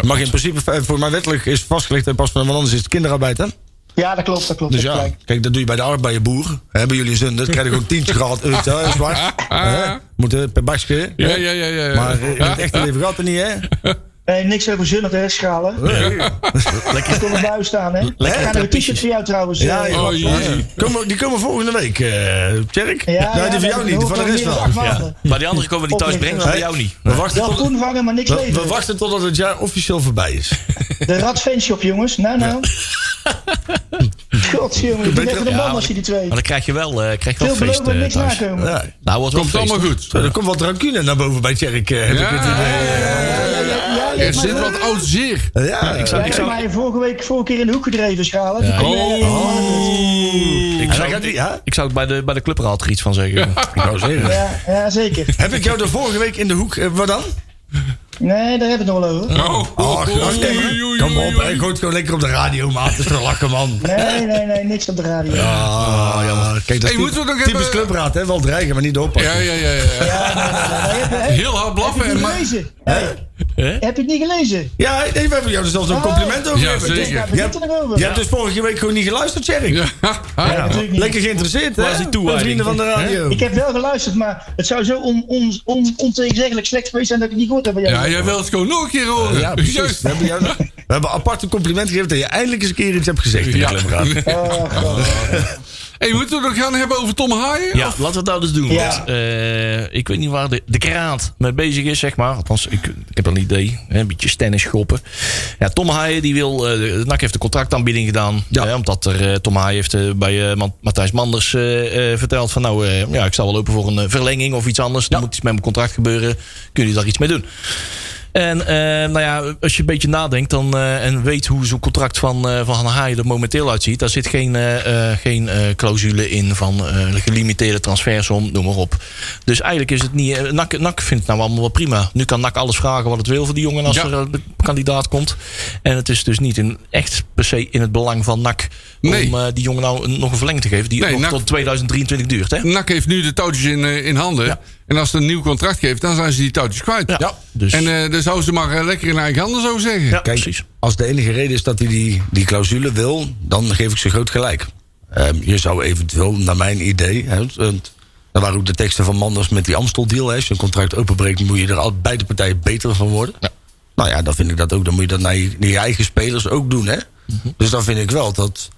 Mag in principe, eh, voor mij wettelijk is vastgelegd en pas van, want anders is het kinderarbeid, hè? Ja, dat klopt, dat klopt. Dus dat ja, gelijk. kijk, dat doe je bij de arbeid, bij je boer. Hebben jullie zin, dat krijg je gewoon Eh, tientje gehad. Uit, hè, zwart. Ah. Hè? Moet eh, per basje. Ja, ja, ja. ja, ja. Maar eh, in het echte leven gaat het niet, hè? Nee, niks over zunnig herschalen. Lekker. Ik kon erbij staan, hè? Lekker. Ik ga nog een t-shirt voor jou trouwens. Ja, eh, joh. Oh, jee. Ja. Komen- die komen volgende week, eh Tjerk. Ja, nee, ja, die van jou niet, dat die van de hoeft rest nog wel. niet. Wacht, Ja. wacht. Maar die andere komen we die thuis brengen, maar bij jou niet. We wachten, Wel tot, koen vangen, maar niks we, we leveren. wachten totdat het jaar officieel voorbij is. De Radfanshop, jongens. Nou, nou. God, jongen. Ik ben even de man als je die twee. Maar dan krijg je wel, eh krijg je wel Veel feest beloven, eh, niks thuis. nakomen. Ja. Nou, wordt wel Komt feest. allemaal goed. Zo, er komt wat rancune naar boven bij Tjerk. eh, heb ik het Ja, idee. Ja, er zit wat oud zeer. Ja, ik Jij zou, hebt mij vorige week vorige keer in de hoek gedreven, schalen. Ja. Oh. Ik zou, gaat die, hè? ik zou het bij de, bij de clubraad er iets van zeggen. zeggen. Ja, ja, zeker. Heb ik jou de vorige week in de hoek, eh, wat dan? Nee, daar hebben we het nog wel over. Oh, Ach, ach, nee, oei, oei, Kom op, oei. ik hoort gewoon lekker op de radio, maat. Het is te lachen, man. Nee, nee, nee, niks op de radio. Ja, Ah, jammer. Kijk, dat is Hey, moeten we het typisch ook typisch even- clubraad, hè? Wel dreigen, maar niet Ja, oppassen. ja, ja, ja. heb, je- heb, Heel hard heb je blaffen. het en niet maar- gelezen? Hey, heb je het niet gelezen? Ja, nee, we hebben jou er zelfs een compliment over. Ja, gegeven. zeker. Ja, daar Je begint hebt, het nog over. je hebt dus vorige week gewoon niet geluisterd, Tjerk. Ja, ja. natuurlijk niet. Lekker geïnteresseerd, hè? Waar is die toewijding? Vrienden van de radio. Ik heb wel geluisterd, maar het zou zo on, on, on, ontegenzeggelijk slecht geweest zijn dat ik het niet gehoord heb. bij jou. ja, jij wil het gewoon nog een keer horen. Ja, precies. Juist. We hebben, jou, we hebben apart een compliment gegeven dat je eindelijk eens een keer iets hebt gezegd. in de Klemraad. Oh, God. Hey, moeten we het nog gaan hebben over Tom Haaien? Ja, laten we het nou dus doen. Ja. Want, eh, ik weet niet waar de, de kraat mee bezig is, zeg maar. Althans, ik, ik heb een idee. Hè, een beetje stennis schoppen. Ja, Tom Haaien, die wil... eh, de NAC heeft de contractaanbieding gedaan. Ja. Hè, omdat er, eh, Tom Haaien heeft eh, bij eh, Ma- Matthijs Manders eh, eh, verteld van... Nou, eh, ja, ik sta wel open voor een eh, verlenging of iets anders. Er moet iets met mijn contract gebeuren. Kunnen jullie daar iets mee doen? En eh, nou ja, als je een beetje nadenkt dan, eh, en weet hoe zo'n contract van, eh van Haaien er momenteel uitziet. Daar zit geen, eh, eh, geen eh, clausule in van eh, gelimiteerde transfersom, noem maar op. Dus eigenlijk is het niet... eh, NAC, NAC vindt het nou allemaal wel prima. Nu kan NAC alles vragen wat het wil voor die jongen als Ja. er een kandidaat komt. En het is dus niet in, echt per se in het belang van NAC Nee. om eh, die jongen nou een- nog een verlenging te geven. Die Nee, nog NAC tot 2023 duurt. Hè? NAC heeft nu de touwtjes in, eh, in handen. Ja. En als ze een nieuw contract geeft, dan zijn ze die touwtjes kwijt. Ja. Ja, dus- En eh dan zouden ze maar eh, lekker in eigen handen, zo zeggen. Ja, Kijk, precies. als de enige reden is dat hij die, die clausule wil, dan geef ik ze groot gelijk. Ehm, je zou eventueel, naar mijn idee... Hè, het- het- dat waren ook de teksten van Manders met die Amstel-deal. hè. Als je een contract openbreekt, moet je er al, beide partijen beter van worden. Nou ja, dan vind ik dat ook. Dan moet je dat naar je, naar je eigen spelers ook doen, hè. Dus dan vind ik wel dat...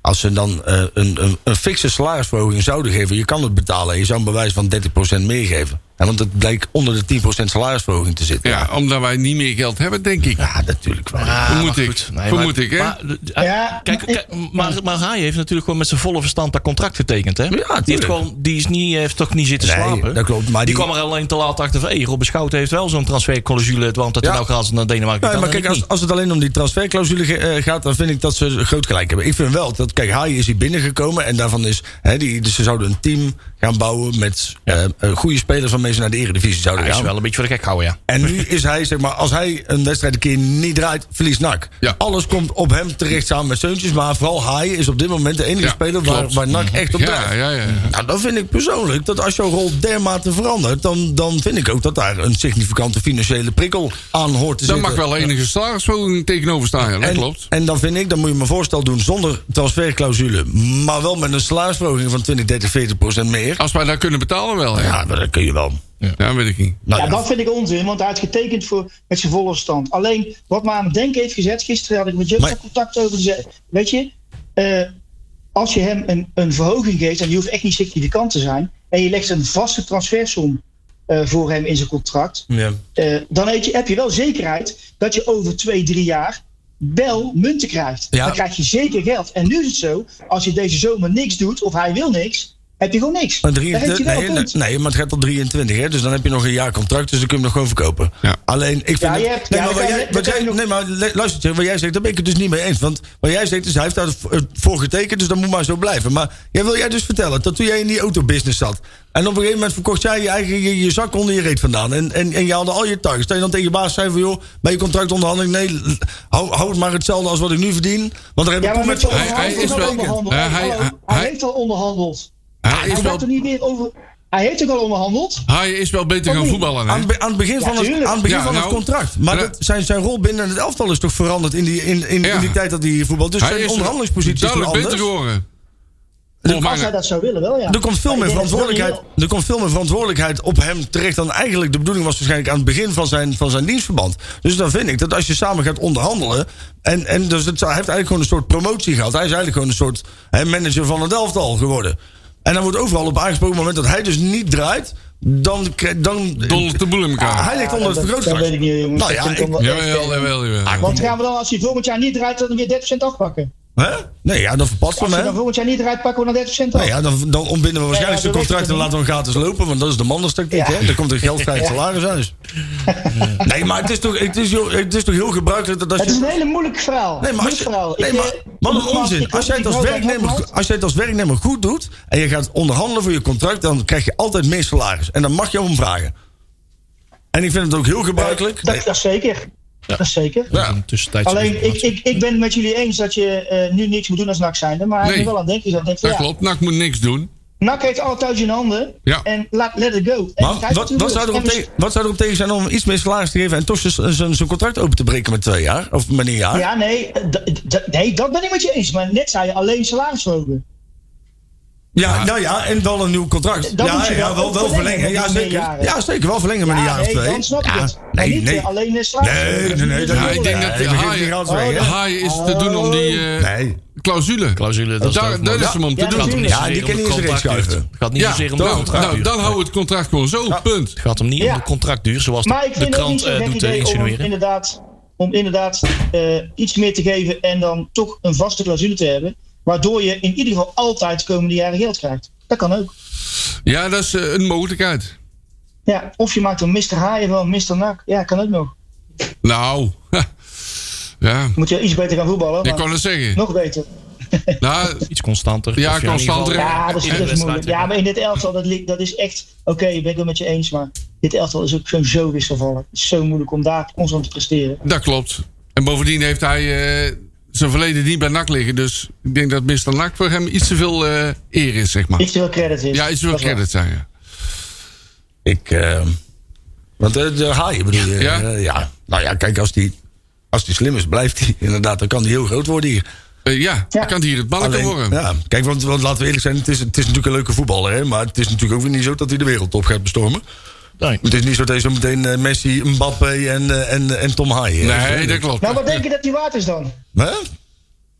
Als ze dan eh, een, een, een fikse salarisverhoging zouden geven... je kan het betalen en je zou een bewijs van 30% meer geven. Hè, want het blijkt onder de 10% salarisverhoging te zitten. Ja, omdat wij niet meer geld hebben, denk ik. Ja, natuurlijk wel. Ah, Vermoed maar ik. goed. Vermoed maar- ik, hè? Maar, eh, Ja, kijk, maar ik- kijk, eh, maar, maar Haaien heeft natuurlijk gewoon met zijn volle verstand dat contract getekend. Hè? die, heeft tuurlijk. gewoon, die is niet, heeft toch niet zitten Nee, slapen. dat klopt, maar die, die- kwam er alleen te laat achter van... Hey, Robben Schouten heeft wel zo'n transferclausule... want dat hij Ja. nou gaat naar Denemarken Nee, kan maar en kijk, ik als, niet. als het alleen om die transferclausule ge- eh, gaat, dan vind ik dat ze groot gelijk hebben. Ik vind wel dat, kijk, Haaien is hier binnengekomen en daarvan is, hè, die, dus ze zouden een team gaan bouwen met eh, eh, goede spelers van waarmee ze naar de Eredivisie zouden Hij is gaan. wel een beetje voor de gek houden, ja. En nu is hij, zeg maar, als hij een wedstrijd een keer niet draait, verliest NAC. Ja. Alles komt op hem terecht samen met Seuntjes. Maar vooral Haaien is op dit moment de enige Ja, speler waar, klopt. Mhm. waar NAC echt op draait. Ja, ja, ja. Nou, dan vind ik persoonlijk dat als jouw rol dermate verandert... dan, dan vind ik ook dat daar een significante financiële prikkel aan hoort te Daar zitten. mag wel enige salarisverhoging tegenover staan. Ja, dat en, klopt. En dan vind ik, dan moet je me een voorstel doen zonder transferclausule... maar wel met een salarisverhoging van 20, 30, 40 procent meer. Als wij dat kunnen betalen, wel. Ja, Ja, maar dat kun je wel. ja weet ik niet. Nou, Ja, ja. dat vind ik onzin, want hij heeft getekend voor, met zijn volle stand. Alleen, wat me aan het denken heeft gezet, gisteren had ik met Justin Maar- contact over. Ze- Weet je, eh, als je hem een, een verhoging geeft, en die hoeft echt niet significant te zijn, en je legt een vaste transfersom eh, voor hem in zijn contract, Ja. eh, dan heb je, heb je wel zekerheid dat je over twee, drie jaar wel munten krijgt. Ja. Dan krijg je zeker geld. En nu is het zo, als je deze zomer niks doet, of hij wil niks, heb je gewoon niks. Maar Dan heb je 23, wel nee, een punt. nee, maar het gaat tot 23, hè? dus dan heb je nog een jaar contract, dus dan kun je hem nog gewoon verkopen. Ja. Alleen, ik vind. Ja, je dat- hebt- nee, ja, maar dan wat kan je- jij- wat dan kan jij- je nog- nee, maar le- luister, Tjerk, wat jij zegt, daar ben ik het dus niet mee eens. Want wat jij zegt is, hij heeft daarvoor getekend, dus dat moet maar zo blijven. Maar jij wil jij dus vertellen dat toen jij in die autobusiness zat. En op een gegeven moment verkocht jij je eigen je, je zak onder je reet vandaan. En, en, en je haalde al je targets. Dat je dan tegen je baas zei van joh, bij je contractonderhandeling, nee, l- hou, hou het maar hetzelfde als wat ik nu verdien. Want daar heb Ja, ik maar toen met met de Hij- hij onderhandeling is ook wel- onderhandeld. Ja, Hallo, hij- hij, hij- heeft al onderhandeld. Hij is hij gaat wel, er niet weer over. Hij heeft ook al onderhandeld. hij is wel beter gaan voetballen. Aan, Hè? het be- aan het begin van, het, tuurlijk. aan het, begin Ja, van het nou, contract. Maar ja. dat, zijn, zijn rol binnen het elftal is toch veranderd in die, in, in, Ja. in die tijd dat hij voetbal. Dus Hij zijn is onderhandelingspositie is toch duidelijk anders. beter geworden. Als hij dat zou willen, wel ja. Er komt, veel Maar meer ik denk dat het wel verantwoordelijkheid, er komt veel meer verantwoordelijkheid op hem terecht dan eigenlijk de bedoeling was waarschijnlijk aan het begin van zijn, van zijn dienstverband. Dus dan vind ik dat als je samen gaat onderhandelen. En, en dus het, zou- hij heeft eigenlijk gewoon een soort promotie gehad. Hij is eigenlijk gewoon een soort hè, manager van het elftal geworden. En dan wordt overal op aangesproken. Op het moment dat hij dus niet draait, dan. kri- dan Dondert de boel in elkaar. Ah, hij ligt heel- onder het dat- Dat weet ik vergrootglas. niet, jongens. Nou ja, Dat vind ik ik- wel echt, eh, Jawel, jawel, jawel. Want gaan we dan, als hij volgend jaar niet draait, dan weer 30% afpakken? Hè? Nee, ja, dan verpast Als hem, hij hè? dan volgend jaar niet draait, pakken we dan 30% af. Nou ja, dan, dan ontbinden we waarschijnlijk Ja, zijn ja, dat contract en weet ik laten we hem gratis lopen. Want dat is de mannenstactiek, Ja. hè? Dan komt er geld vrij het salarishuis. Nee, maar het is, toch, het, is, joh, het is toch heel gebruikelijk dat als Het is een je... hele moeilijk verhaal. Nee, maar, als Moeilijk verhaal. je, nee, Ik, maar eh, wat een nogmaals, onzin. ik- Als jij, ik het als, hoop dat werknemer, nogmaals- als jij het als werknemer goed doet en je gaat onderhandelen voor je contract... dan krijg je altijd meer salaris. En dan mag je om vragen. En ik vind het ook heel gebruikelijk. Dat, dat is zeker. Dat is zeker. Dat is een tussentijdse Alleen, ik, informatie. ik, ik ben het met jullie eens dat je eh, nu niks moet doen als NAC zijnde. Maar ik Nee. ben wel aan het denken. Ik denk van, Dat ja, klopt. NAC moet niks doen. NAC heeft alle thuis in handen. Ja. En laat, let it go. En Maar kijk wat, hoe wat, het zou erop en tegen, wat zou erop tegen zijn om iets meer salaris te geven... en toch zijn- zijn zijn contract open te breken met twee jaar? Of met een jaar? Ja, nee, d- d- nee, dat ben ik met je eens. Maar net zei je alleen salarisverhoging. Ja, nou ja, en wel een nieuw contract. Dan ja, moet je ja, wel wel, wel verlengen verlengen. met Ja die zeker. meerjaren. ja, zeker. Wel verlengen met een jaar Ja, of Ah, nee, twee. dan snap ik ja, het. Maar Nee, niet nee. eh, alleen de salarisverhoging. Nee, nee, nee. dat- Dat is Ja, ik denk wel- dat Nee, de we geven die haaien- geld weg, hè? Haai is te doen om die eh, Nee. clausule. Clausule, dat is Daar- het daar is hoofdmoot. hem om te Ja, Het gaat natuurlijk. hem niet Ja, zozeer die om kan de niet eens erin contractduur. schuiven. Het gaat niet zozeer om de nou, nou, contractduur. dan houden we het contract gewoon zo, punt. Het gaat hem niet Ja. om de contractduur, zoals Maar de, ik de vind het niet krant zo'n eh, gek doet eh, idee om hem insinueren. inderdaad, om inderdaad eh, iets meer te geven en dan toch een vaste clausule te hebben. Waardoor je in ieder geval altijd de komende jaren geld krijgt. Dat kan ook. Ja, dat is eh, een mogelijkheid. Ja, of je maakt een Mr. Haaien van Mr. Nak. Ja, kan ook nog. Nou, ja, Moet je iets beter gaan voetballen. ik maar kan het zeggen. Nog beter. Nou, Iets constanter. Ja, Of in ieder geval- constanter. Ja, dat is, in de dat is wedstrijd, moeilijk. ja. Ja, maar in dit elftal, dat, li- dat is echt... Oké, ik ben het wel met je eens, maar dit elftal is ook zo'n zo wisselvallig. Het is zo moeilijk om daar constant te presteren. dat klopt. En bovendien heeft hij eh, zijn verleden niet bij NAC liggen. Dus ik denk dat Mr. NAC voor hem iets te veel eh, eer is, zeg maar. Iets te veel credit is. Ja, iets te veel Dat is waar. credit zijn, ja. Ik, eh, want eh, de haaien bedoel je? Ja. Eh, ja. Nou ja, kijk, als die, als die slim is, blijft hij. Inderdaad, dan kan die heel groot worden hier. Eh, ja, dan kan hij hier het balletje worden. ja, kijk, want, want laten we eerlijk zijn, het is, het is natuurlijk een leuke voetballer. Hè, maar het is natuurlijk ook weer niet zo dat hij de wereldtop gaat bestormen. Nee. Het is niet zo dat hij zo meteen eh, Messi, Mbappé en, eh, en, en Tom Haaien Nee, dat klopt. Nou, wat denk je dat die waard is dan? Nou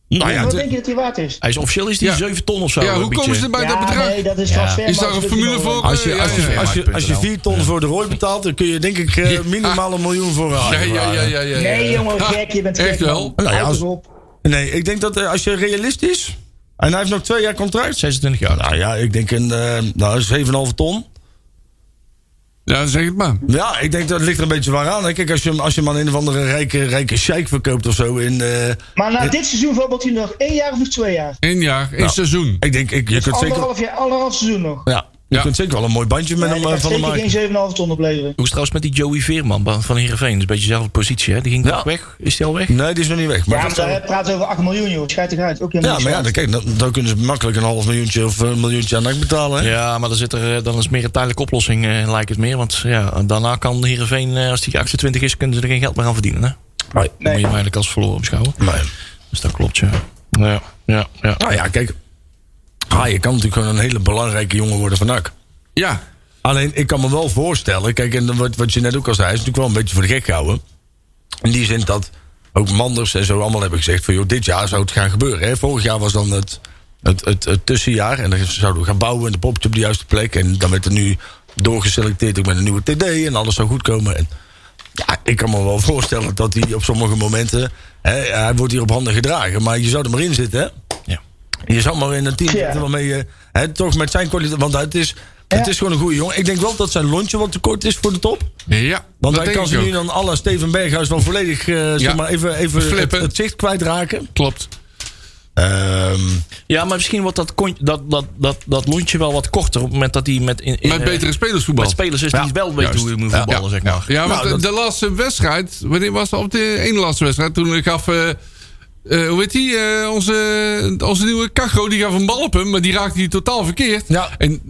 ja, wat het- denk je dat die waard is? hij is officieel is die Ja. 7 ton of zo. Nou, eh, Ja, een hoe beetje. komen ze bij dat bedrag? nee, dat is Ja. transfer. Is daar een formule voor? eh, Als je, als, Ja, ja, je, ja. als, je, als je 4 ton voor de rooi betaalt, dan kun je denk ik eh, minimaal een miljoen voor Ja, haaien. ja, ja, vragen. ja, ja. Nee, jongen, Ha, gek, je bent gek. Echt wel? man. Nou ja, Houd als- eens op. Nee, ik denk dat eh, als je realistisch. En hij heeft nog twee jaar contract. 26 jaar. Nou ja, ik denk een eh nou, 7,5 ton. Ja, zeg het maar. Ja, ik denk dat ligt er een beetje waar aan. hè. Kijk, als je, hem- als je hem aan een of andere rijke, rijke sheik verkoopt of zo. In, eh, Maar na dit seizoen bijvoorbeeld hij nog één jaar of nog twee jaar? Eén jaar, één Nou. seizoen. ik denk, ik, je kunt zeker. Anderhalf jaar, anderhalf seizoen nog. Ja, Je Ja. kunt zeker wel een mooi bandje met Nee, hem dat eh, gaat van hem zeker maken. geen 7,5 ton opleveren. Hoe is het trouwens met die Joey Veerman ba- van Heerenveen? Dat is een beetje dezelfde positie, hè? Die ging Ja. toch weg? Is die al weg? Nee, die is nog niet weg. Maar Ja, maar dat zou- daar praat over 8 miljoen, joh. Schijt eruit. Ook helemaal ja, niks maar ja, waard. dan, kijk, dan, dan kunnen ze makkelijk een half miljoentje of een miljoentje aan NAC betalen. Hè? Ja, maar dan, zit er, eh, dan is meer een tijdelijke oplossing, eh, lijkt het meer. Want ja, daarna kan Heerenveen, eh, als die 28 is, kunnen ze er geen geld meer aan verdienen. Hè? Nee. Dan moet je hem eigenlijk als verloren beschouwen. Nee. Dus dat klopt, ja. Ja, ja, ja. Nou ja, kijk. Ah, je kan natuurlijk gewoon een hele belangrijke jongen worden van NAC. Ja. Alleen, ik kan me wel voorstellen... Kijk, en wat, wat je net ook al zei... is natuurlijk wel een beetje voor de gek gehouden. In die zin dat ook Manders en zo allemaal hebben gezegd... van joh, dit jaar zou het gaan gebeuren. Hè? Vorig jaar was dan het, het, het, het tussenjaar... en dan zouden we gaan bouwen en de poppetje op de juiste plek... en dan werd er nu doorgeselecteerd ook met een nieuwe TD... en alles zou goed komen. En, ja, ik kan me wel voorstellen dat hij op sommige momenten... Hè, hij wordt hier op handen gedragen, maar je zou er maar in zitten, hè? ja. Je zou maar in een team Ja. zitten waarmee je... Hè, toch met zijn kwaliteit... Want het is, het Ja. is gewoon een goede jongen. Ik denk wel dat zijn lontje wat te kort is voor de top. Ja. Want dat hij denk kan ik ze ook. nu dan alle Steven Berghuis wel volledig... eh, zeg maar even, even het, Flippen. het zicht kwijtraken. Klopt. Ehm, ja, maar misschien wordt dat, kon- dat, dat, dat, dat lontje wel wat korter. Op het moment dat hij met, in, in, Met eh, betere spelersvoetbal. met spelers is die Ja, het wel weten juist. hoe je moet voetballen, zeg maar. Ja, want Nou, de- dat- de laatste wedstrijd, wanneer was dat? Op de ene laatste wedstrijd, toen gaf, eh, eh, hoe heet die, eh, onze, onze nieuwe Cacho, die gaf een bal op hem, maar die raakte hij totaal verkeerd. Ja. En,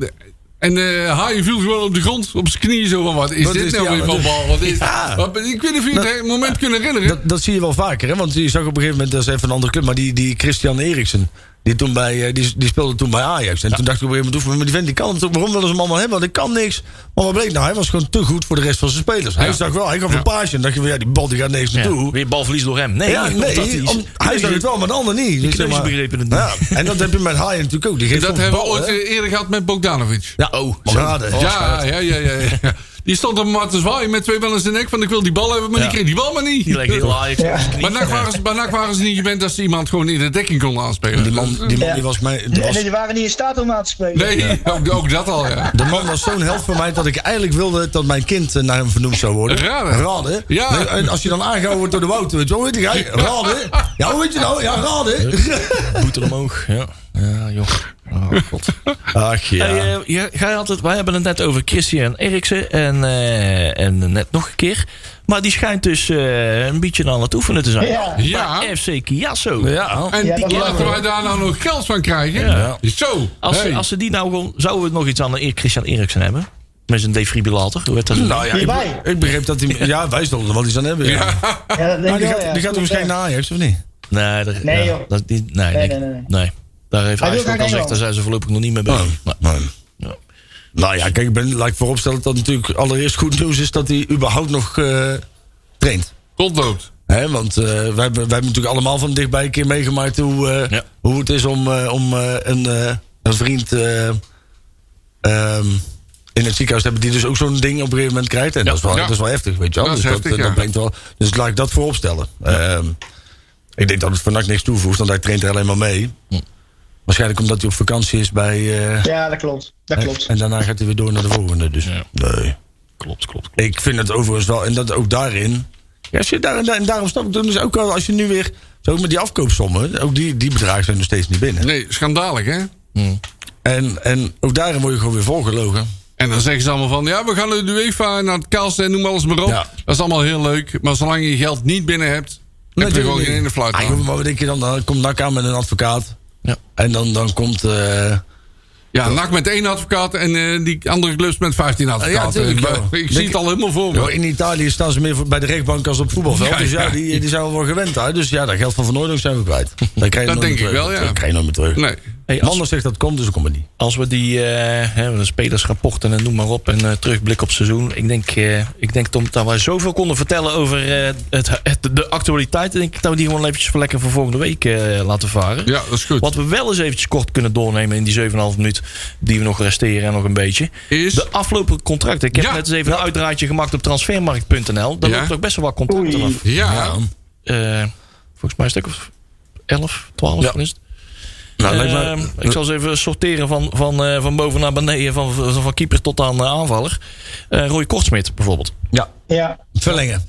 en eh Haaien viel gewoon op de grond, op zijn knieën zo van, wat is Wat dit is nou die- weer ja, van wat- bal? Wat is, Ja. wat- ik weet niet of je het he- moment kunnen herinneren. dat, dat zie je wel vaker, hè? Want je zag op een gegeven moment, dat is even een andere club... maar die, die Christian Eriksen, die, toen bij, eh, die, die speelde toen bij Ajax. En toen dacht ik op een gegeven moment, maar die vent die kan het ook... waarom willen ze hem allemaal hebben? Want ik kan niks. Maar wat bleek nou? Hij was gewoon te goed voor de rest van zijn spelers. Hij Ja. zag wel, hij gaf een paasje... en dan dacht je van, ja, die bal die gaat niks Ja, naartoe. Weer balverlies door hem. Nee, Ja, nee, om- hij zag het wel, maar de ander niet. Dus zeg kneuzen maar- begrepen het niet. Ja, en dat heb je met Haaien natuurlijk ook. Die geeft dat soms hebben we ballen, ooit eh, hè. eerder gehad met Bogdanovic. Ja, oh, schade. ja, ja, ja, ja, ja. Die stond op maar te zwaaien met twee ballen in zijn nek. Van ik wil die bal hebben, maar Ja. die kreeg die bal maar niet. Die lijkt heel Ajax op zijn knie. Maar NAC waren, ze- bij NAC waren ze niet gewend dat ze iemand gewoon in de dekking konden aanspelen. Die man, die man die was mij... die En was- die waren niet in staat om aan te spelen. nee, ook, ook dat al, ja. De man was zo'n held voor mij dat ik eigenlijk wilde dat mijn kind eh, naar hem vernoemd zou worden. Raden. Raden. Ja. Nee, En als je dan aangehouden wordt door de Wouter, weet je wel, hoe heet die guy? Raden. Ja, hoe weet je nou? Ja, Raden. Boeter omhoog. Ja, ja joh. Oh, god. Ach ja. Hey, eh, ja, jij had het, wij hebben het net over Christian Eriksen en, eh, en net nog een keer. Maar die schijnt dus eh, een beetje aan het oefenen te zijn. Ja. Ja. Bij FC Chiasso. Ja. En Ja, dat die was laten wel. wij daar nou nog geld van krijgen. Ja. Zo. Als, hey. ze, als ze die nou gewoon... Zouden we nog iets aan de Christian Eriksen hebben? Met zijn defibrillator. Hoe werd dat? Nou ja, ik, Hierbij. ik begreep dat hij... Ja, wij zullen er wel iets aan hebben. Ja. Ja, dat denk Maar ik Nou, die wel, gaat, ja. die eh, gaat dus toch waarschijnlijk naar Ajax, of niet? Nee, daar, Nee, ja, joh. dat, die, nee, Nee, nee, nee, nee. nee. Daar heeft Hij wil Ajax ook graag al gezegd. Engeland. Daar zijn ze voorlopig nog niet mee bezig. Oh, Maar- nee. ja. Nou ja, kijk, ik ben, laat ik vooropstellen dat het natuurlijk allereerst goed nieuws is dat hij überhaupt nog eh, traint. Rondloopt. Hè, want eh, wij, hebben, wij hebben natuurlijk allemaal van dichtbij een keer meegemaakt hoe, eh, Ja. hoe het is om, eh, om eh, een, eh, een vriend eh, ehm, in het ziekenhuis te hebben die dus ook zo'n ding op een gegeven moment krijgt. En dat, is wel, Ja. dat is wel heftig, weet je wel. Dat is dus dat, heftig, eh, dat ja. brengt wel. Dus laat ik dat vooropstellen. Ehm, ik denk dat het vannacht niks toevoegt, want hij traint er alleen maar mee. Hm. Waarschijnlijk omdat hij op vakantie is bij. eh, Ja, dat klopt. Dat klopt. en daarna gaat hij weer door naar de volgende. Dus Ja. nee. Klopt, klopt. Ik vind het overigens wel, en dat ook daarin. Ja, als je daar, en, daar- en daarom snap ik het dus ook wel, als je nu weer. Zo met die afkoopsommen, ook die, die bedragen zijn nog steeds niet binnen. Nee, schandalig, hè? En, en ook daarin word je gewoon weer volgelogen. En dan zeggen ze allemaal van... Ja, we gaan naar de UEFA, naar het Kaalste en noem alles maar op. Ja. Dat is allemaal heel leuk. Maar zolang je geld niet binnen hebt... heb je er gewoon geen ene fluit Ah, aan. joh, maar wat denk je dan? Dan komt NAC aan met een advocaat. Ja. En dan, dan komt. eh, Ja, NAC met één advocaat en eh, die andere clubs met 15 advocaten. tuurlijk, ik eh, joh. ik zie Denk- het al helemaal voor me. joh, in Italië staan ze meer voor- bij de rechtbank als op het voetbalveld. Ja, dus ja, ja. Die, die zijn we wel gewend daar. Dus ja, dat geld van Van Noordhoek zijn we kwijt. Dat, krijg je Dat nooit denk meer ik terug. wel, ja. Dat krijg je nooit meer terug. Nee. Hey, als, Manders zegt dat komt, dus ik kom er niet. als we die eh, hè, de spelersrapporten en noem maar op... en eh, terugblik op het seizoen... ik denk, eh, ik denk Tom, dat we zoveel konden vertellen over eh, het, het- de actualiteit... denk ik dat we die gewoon eventjes voor lekker voor volgende week eh, laten varen. Ja, dat is goed. Wat we wel eens eventjes kort kunnen doornemen in die 7,5 minuut die we nog resteren en nog een beetje. Is? De afgelopen contracten. Ik heb Ja. net eens even een uitdraadje gemaakt op transfermarkt.nl. Daar Ja. loopt toch best wel wat contracten af. Ja. Eh, volgens mij een stuk of 11, 12 Ja. van is het. Nou, lijkt mij- Ehm, ik zal eens even sorteren van, van, eh, van boven naar beneden, van, van, van keeper tot aan eh, aanvaller. Eh Roy Kortsmit bijvoorbeeld. ja, Ja, verlengen.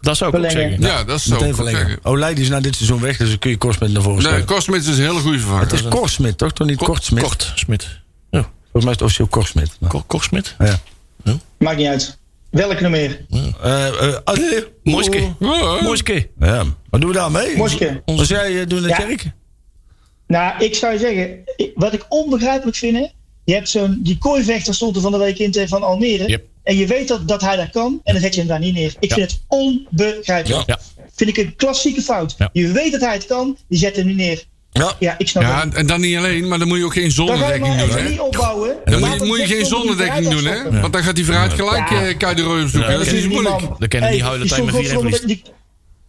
Dat zou ik ook Verlengen. zeggen. Ja, dat is zo. Meteen verlengen. Olij die is na dit seizoen weg, dus dan kun je Korsmit naar voren Nee, stellen. Kosmits is een hele goede vervanger. het is Korsmit, toch? Toch niet Kortsmit? Kort, Smit. Oh, Volgens mij is het officieel Korsmit. Maar, Ko- Korsmit? ja. Maakt niet uit. Welk nog meer? Eh, eh, Ade. Moiske. Oh, Moiske. Ja. Wat doen we daarmee? Moske. Als jij eh, doet naar Ja. Tjerk? Nou, ik zou zeggen, ik- wat ik onbegrijpelijk vind, hè, je hebt zo'n, die kooivechter stond er van de week in tegen van Almere. Yep. En je weet dat, dat hij daar kan en dan zet je hem daar niet neer. Ik vind het onbegrijpelijk. Ja. Vind ik een klassieke fout. Ja. Je weet dat hij het kan, je zet hem niet neer. Ja. Ja, ik snap Ja, het. en en dan niet alleen, maar dan moet je ook geen Dan ga je zonnedekking maar doen. even Hè? niet opbouwen. Dan moet Laat je, hem moet je vechten geen om die zonnedekking vooruit doen, te hè? stoppen. Want dan gaat hij vooruit gelijk Ja. eh Kuiderooien zoeken. Ja, Dat is niet Die moeilijk. man. Dan kennen die huilen die tijd met stond vier en gewoon- verlies. die-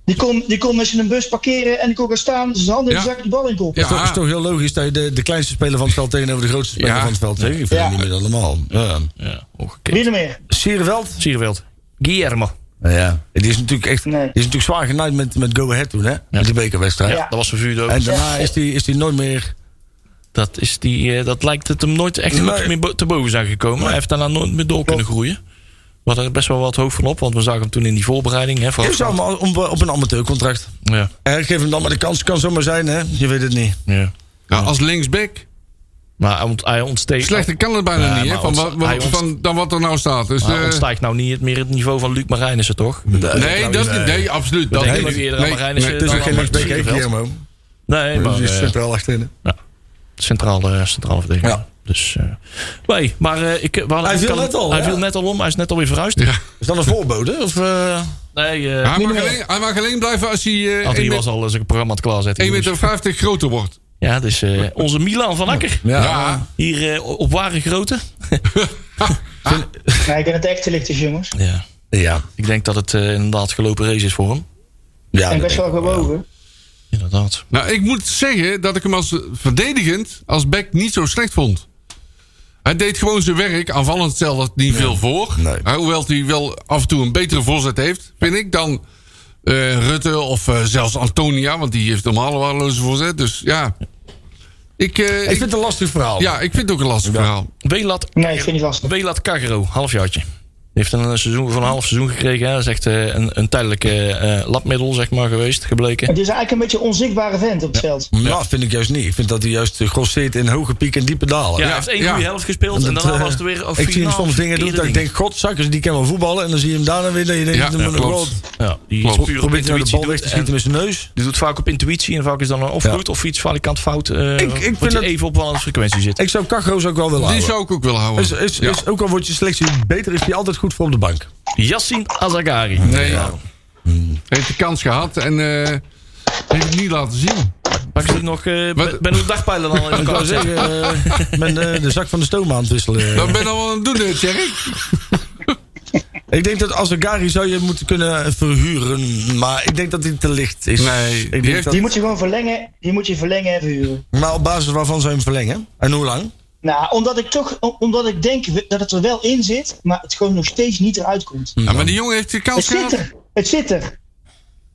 Die kon, die kon met zijn bus parkeren en ik kon gaan staan, Dus zijn handen in de Ja. zak de bal in kop. Ja. Het is toch heel logisch dat je de, de kleinste speler van het veld tegenover de grootste speler Ja. van het veld zegt. Ik vind Ja. het niet meer allemaal. Ja. Ja, Wie ongekend. er meer? Sierveld? Sierveld. Guillermo. Ja. Die is natuurlijk echt Nee. die is natuurlijk zwaar genaaid met, met Go Ahead toen, hè? Met die bekerwedstrijd. Ja, dat was vervuurd ook. En daarna is die, is die nooit meer... Dat, is die, eh, dat lijkt het hem nooit echt gelukkig Nee. meer bo- te boven zijn gekomen. Hij heeft daarna nooit meer door kunnen groeien. We hadden er best wel wat hoog van op, want we zagen hem toen in die voorbereiding. Hè, voor Ik zou hem al- om, op een amateurcontract. ja, Eh, geef hem dan maar de kans. Kan zomaar zijn, hè? Je weet het niet. ja. Ja, Nou, als linksback. Maar hij ont- hij ontsteekt, Slechter kan het bijna Ja, niet, hè? maar Van, wat, hij wat, ont- van, dan wat er nou staat. Dus, hij eh, ontstijgt nou niet het- meer het niveau van Luc Marijnissen, toch? Nee, nee, dat, nee. nee, absoluut. We Dat denken niet. nog eerder aan nee, Marijnissen nee, dan het aan is ook geen Marijnissen. linksback. Sierveld. maar Die is eh, centraal achterin. centrale, eh, centrale verdediger. Dus, eh, nee, maar eh, ik, we hadden- Hij viel kan- net al, Hij hè? viel net al om, hij is net alweer verhuisd. Is dat een voorbode? Of, eh, Nee, eh, Hij mag, alleen, hij mag alleen blijven als hij want eh hij was al zijn programma aan het klaarzetten. 1,50 meter groter wordt. Ja, dus eh, onze Milan van Akker. ja. Ja. Hier eh, op ware grootte. Nee, ik ben het echt te lichtjes, jongens. Ja. Ja. Ik denk dat het eh, inderdaad gelopen race is voor hem. ja en best wel gewogen. Inderdaad. Nou, ik moet zeggen dat ik hem als verdedigend, als back, niet zo slecht vond. Hij deed gewoon zijn werk. Aanvallend stelde het niet veel voor. Nee. Maar Hoewel hij wel af en toe een betere voorzet heeft, vind ik, dan eh, Rutte of eh, zelfs Antonia. Want die heeft normaal een waardeloze voorzet. Dus ja. Ik, eh, Ik ik- vind het een lastig verhaal. ja, ik vind het ook een lastig verhaal. Welat, Nee, ik vind het lastig. Welat Kagero, halfjaartje. Die heeft een, eh, seizoen van een half seizoen gekregen. Hè. Dat is echt eh, een, een tijdelijke eh labmiddel zeg maar, geweest, gebleken. Het is eigenlijk een beetje een onzichtbare vent op het veld. Ja, vind ik juist niet. Ik vind dat hij juist eh, grosseert in hoge pieken en diepe dalen. Ja, hij heeft één ja. goede helft gespeeld. En Dat, daarna eh, was er weer een Ik zie hem finaal soms dingen doen dat ik verkeerde denk, god, zakkers, die kan wel voetballen. En dan zie je hem daarna weer dat je denkt, Ja, ja, ja, klopt. ding. Ja, die Klopt. is puur op probeert nou de intuïtie bal weg doet. te En schieten met zijn neus. die doet vaak op intuïtie. En vaak is dan een of Ja. goed of fiets valikant fout. eh ik ik vind moet je dat- even op een andere frequentie zitten. Ik zou Kacho's ook wel willen Die houden. zou ik ook willen houden. Is, is, Ja. is, ook al wordt je selectie beter, is die altijd goed voor op de bank. Yassin Azagari. Nee, heeft de kans gehad en eh, heeft het niet laten zien. Pak ze die nog. eh Wat- ben- ben de dagpijlen al in Ik elkaar. wou zeggen, eh, met eh, de zak van de stoom aan het wisselen. Dat ben je al aan het doen, eh, Tjerk. Ik denk dat Azagari zou je moeten kunnen verhuren. Maar ik denk dat hij te licht is. Nee, die ik denk heeft- dat- Die moet je gewoon verlengen, die moet je verlengen en verhuren. maar op basis waarvan zou je hem verlengen? En hoe lang? Nou, omdat ik toch, om- omdat ik denk dat het er wel in zit, maar het gewoon nog steeds niet eruit komt. Ja, maar die jongen heeft de Het kans zit gehad. er, het zit er. Nee,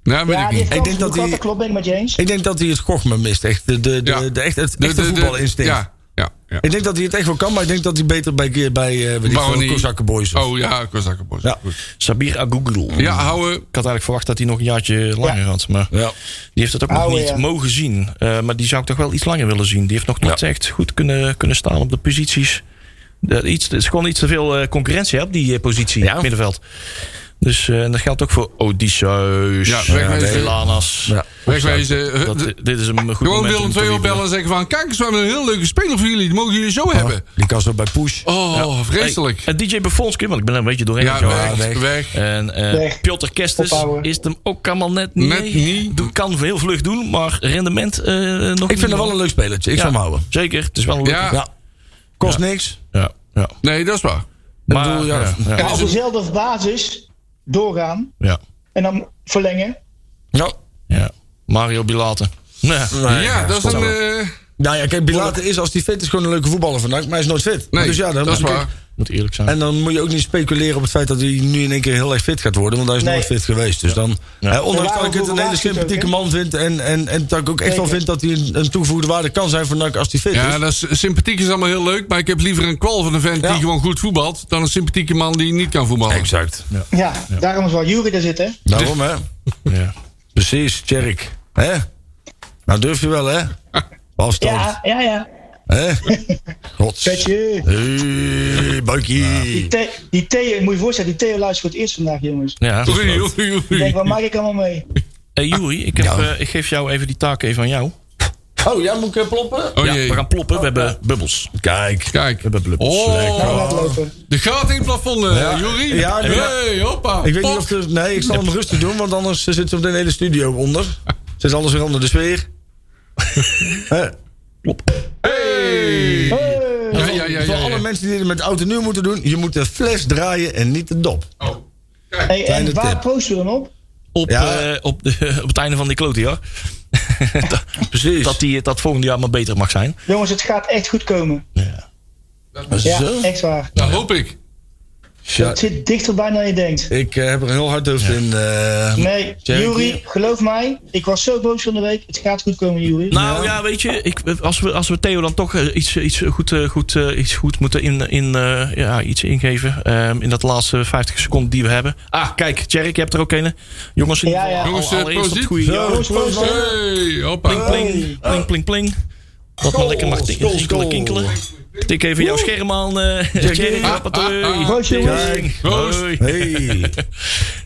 weet Ja, ik die niet. heeft Ik kans denk dat dat, die- dat klopt, ben ik met je eens. Ik denk dat hij het gochme mist. Echt, de, de, de, Ja. de, echt, het De- echte de- de- voetbalinstinct. Ja, ja, ja. Ik denk dat hij het echt wel kan, maar ik denk dat hij beter bij, bij eh weet ik Baroni. veel, Kozakken Boys of- Oh ja, Kozakkenbos. Ja. Ja. Sabir Agugul. ja, houden. Ik had eigenlijk verwacht dat hij nog een jaartje langer had. Maar Ja. die heeft het ook nog Oude, niet ja. mogen zien. Eh, maar die zou ik toch wel iets langer willen zien. Die heeft nog niet echt goed kunnen, kunnen staan op de posities. Dat iets, het is gewoon iets te veel eh, concurrentie hè, op die eh, positie Ja. in het middenveld. Dus eh, en dat geldt ook voor Odysseus, Ja, ja, wegwezen. Velanas. Ja. Wegwezen. Eh, Dat, de- dit is een goed Gewoon moment om Willem te 2 wiebelen. opbellen en zeggen van... Kijk eens, we hebben een heel leuke speler voor jullie. Die mogen jullie zo hebben. Die kan zo bij Push. Oh, vreselijk. Hey, eh, DJ Bufonski, want ik ben er een beetje doorheen. ja, gegaan. weg, weg. weg. En eh Weg. Piotr Kestes Ophouden. is het hem ook allemaal net niet. Net niet. Doe- Kan heel vlug doen, maar rendement eh, nog Ik vind hem wel een leuk spelertje. Ik zou hem houden. Zeker, het is wel een leuke. Ja, Ja. Kost niks. ja. ja. nee, dat is waar. Maar, bedoel, ja. ja, ja, Maar op dezelfde basis doorgaan ja, en dan verlengen. Ja. ja. Mario Bilate. Nee. Ja, dat is een... wel. eh, Nou ja, kijk, Bilate is als hij fit is gewoon een leuke voetballer vandaag, maar hij is nooit fit. nee, dus ja, dan dat is kijk, waar. Moet eerlijk zijn. En dan moet je ook niet speculeren op het feit dat hij nu in één keer heel erg fit gaat worden, want hij is Nee. nooit fit geweest. Dus dan, hè, ondanks Ja, dat ik het een waarom hele verbaas je het ook, sympathieke hè? man vind en, en, en dat ik ook echt wel Zeker. vind dat hij een, een toegevoegde waarde kan zijn voor NAC als hij fit Ja, is. dat is, sympathiek is allemaal heel leuk. Maar ik heb liever een kwal van een vent Ja. die gewoon goed voetbalt... dan een sympathieke man die niet kan voetballen. Exact. Ja, daarom is wel Jury daar zitten. Daarom hè. Ja. Precies, Tjerk. Hè? Nou durf je wel hè? Afstand. Ja, ja, ja. Hè? Gods. Petje. Hey, Die, buikie. the, die Theo, moet je je voorstellen, die Theo luistert voor het eerst vandaag, jongens. Ja, dat is wel. Oei, oei, oei. Ik denk, wat maak ik allemaal mee? hey, Joeri, ik, heb, Ja. eh, ik geef jou even die taak even aan jou. Oh, jij moet ik eh, ploppen? Oh ja, jee. we gaan ploppen. We hebben bubbels. Kijk. Kijk. We hebben blubbers. Nou, Oh, laat lopen. de gaat in het plafond, eh, Ja. Jorie. Ja, nee. hey, hoppa. Ik weet niet Pop. of er... Nee, ik zal hem rustig doen, want anders zitten we op de hele studio onder. Zit alles weer onder de sfeer. Hè? Hey. Hey. Ja, ja, ja, Voor ja, alle ja. mensen die dit met oud en nieuw moeten doen, je moet de fles draaien en niet de dop. Oh, Hey, Kleine en waar tip. proosten we dan op? Op, Ja. eh, op, de, op het einde van die klote jaar. Precies. Dat die, dat volgend jaar maar beter mag zijn. Jongens, het gaat echt goed komen. Ja, Zo. echt waar. Dat hoop ik. Ja, Het zit dichterbij dan je denkt. ik eh, heb er heel hard over in. eh, Nee, Jerry, Jury, hier. geloof mij. Ik was zo boos van de week. Het gaat goed komen, Jury. Nou ja, weet je, ik, als, we, als we Theo dan toch eh, iets, iets, goed, eh, goed, eh, iets goed moeten in, in, eh, ja, iets ingeven. ehm, in dat laatste 50 seconden die we hebben. Ah, kijk, Jerry, je hebt er ook een. Jongens, in Ja, ieder geval ja. al- Jongens, eh, allereerst op het goede proost. jaar. Proost, proost, hè. Hey, hoppa. Pling, pling, pling, pling. Dat maar lekker mag Skol, skol, rinkelen, skol. kinkelen. Tik even jouw scherm aan, eh Jerry. Ah, Hoppatee. ah, ah. Proost, jongens. Ding. Proost. Hoi. Hey.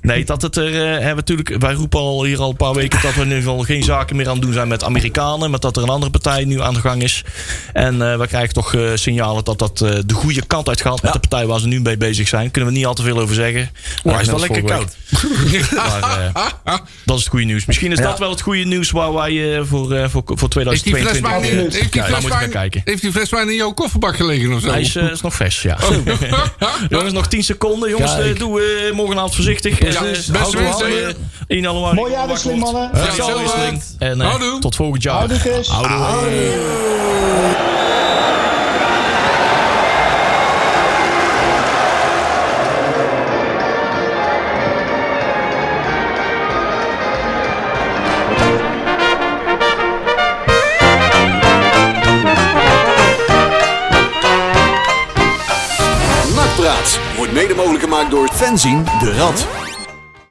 Nee, dat het er. eh, hebben natuurlijk, wij roepen al hier al een paar weken dat we in ieder geval geen zaken meer aan het doen zijn met Amerikanen. Maar dat er een andere partij nu aan de gang is. En eh, we krijgen toch eh, signalen dat dat eh, de goede kant uit gaat. Met de partij waar ze nu mee bezig zijn. Kunnen we niet al te veel over zeggen. Oh, Net hij is wel als lekker vorige week. koud. Maar eh, dat is het goede nieuws. Misschien is Ja. dat wel het goede nieuws waar wij eh, voor, eh, voor, voor Heeft die fles 2022 wijn in- Absoluut. heeft die Kijk, daar fles moet ik wijn- naar kijken. heeft die fles wijn in jouw kofferbak gelegen of zo? Hij is, eh, is nog vers, ja. Jongens, nog 10 seconden. Jongens, Kijk. eh, doe eh, morgenavond voorzichtig. En, eh, beste houd uw wensen, handen. hè. 1 januari. Mooi jaarwisseling, mannen. Ja, Zelfde. jaarwisseling. En eh, Houdoe. tot volgend jaar. Houdoe, Chris. Nakpraat wordt mede mogelijk gemaakt door fanzine de Rad.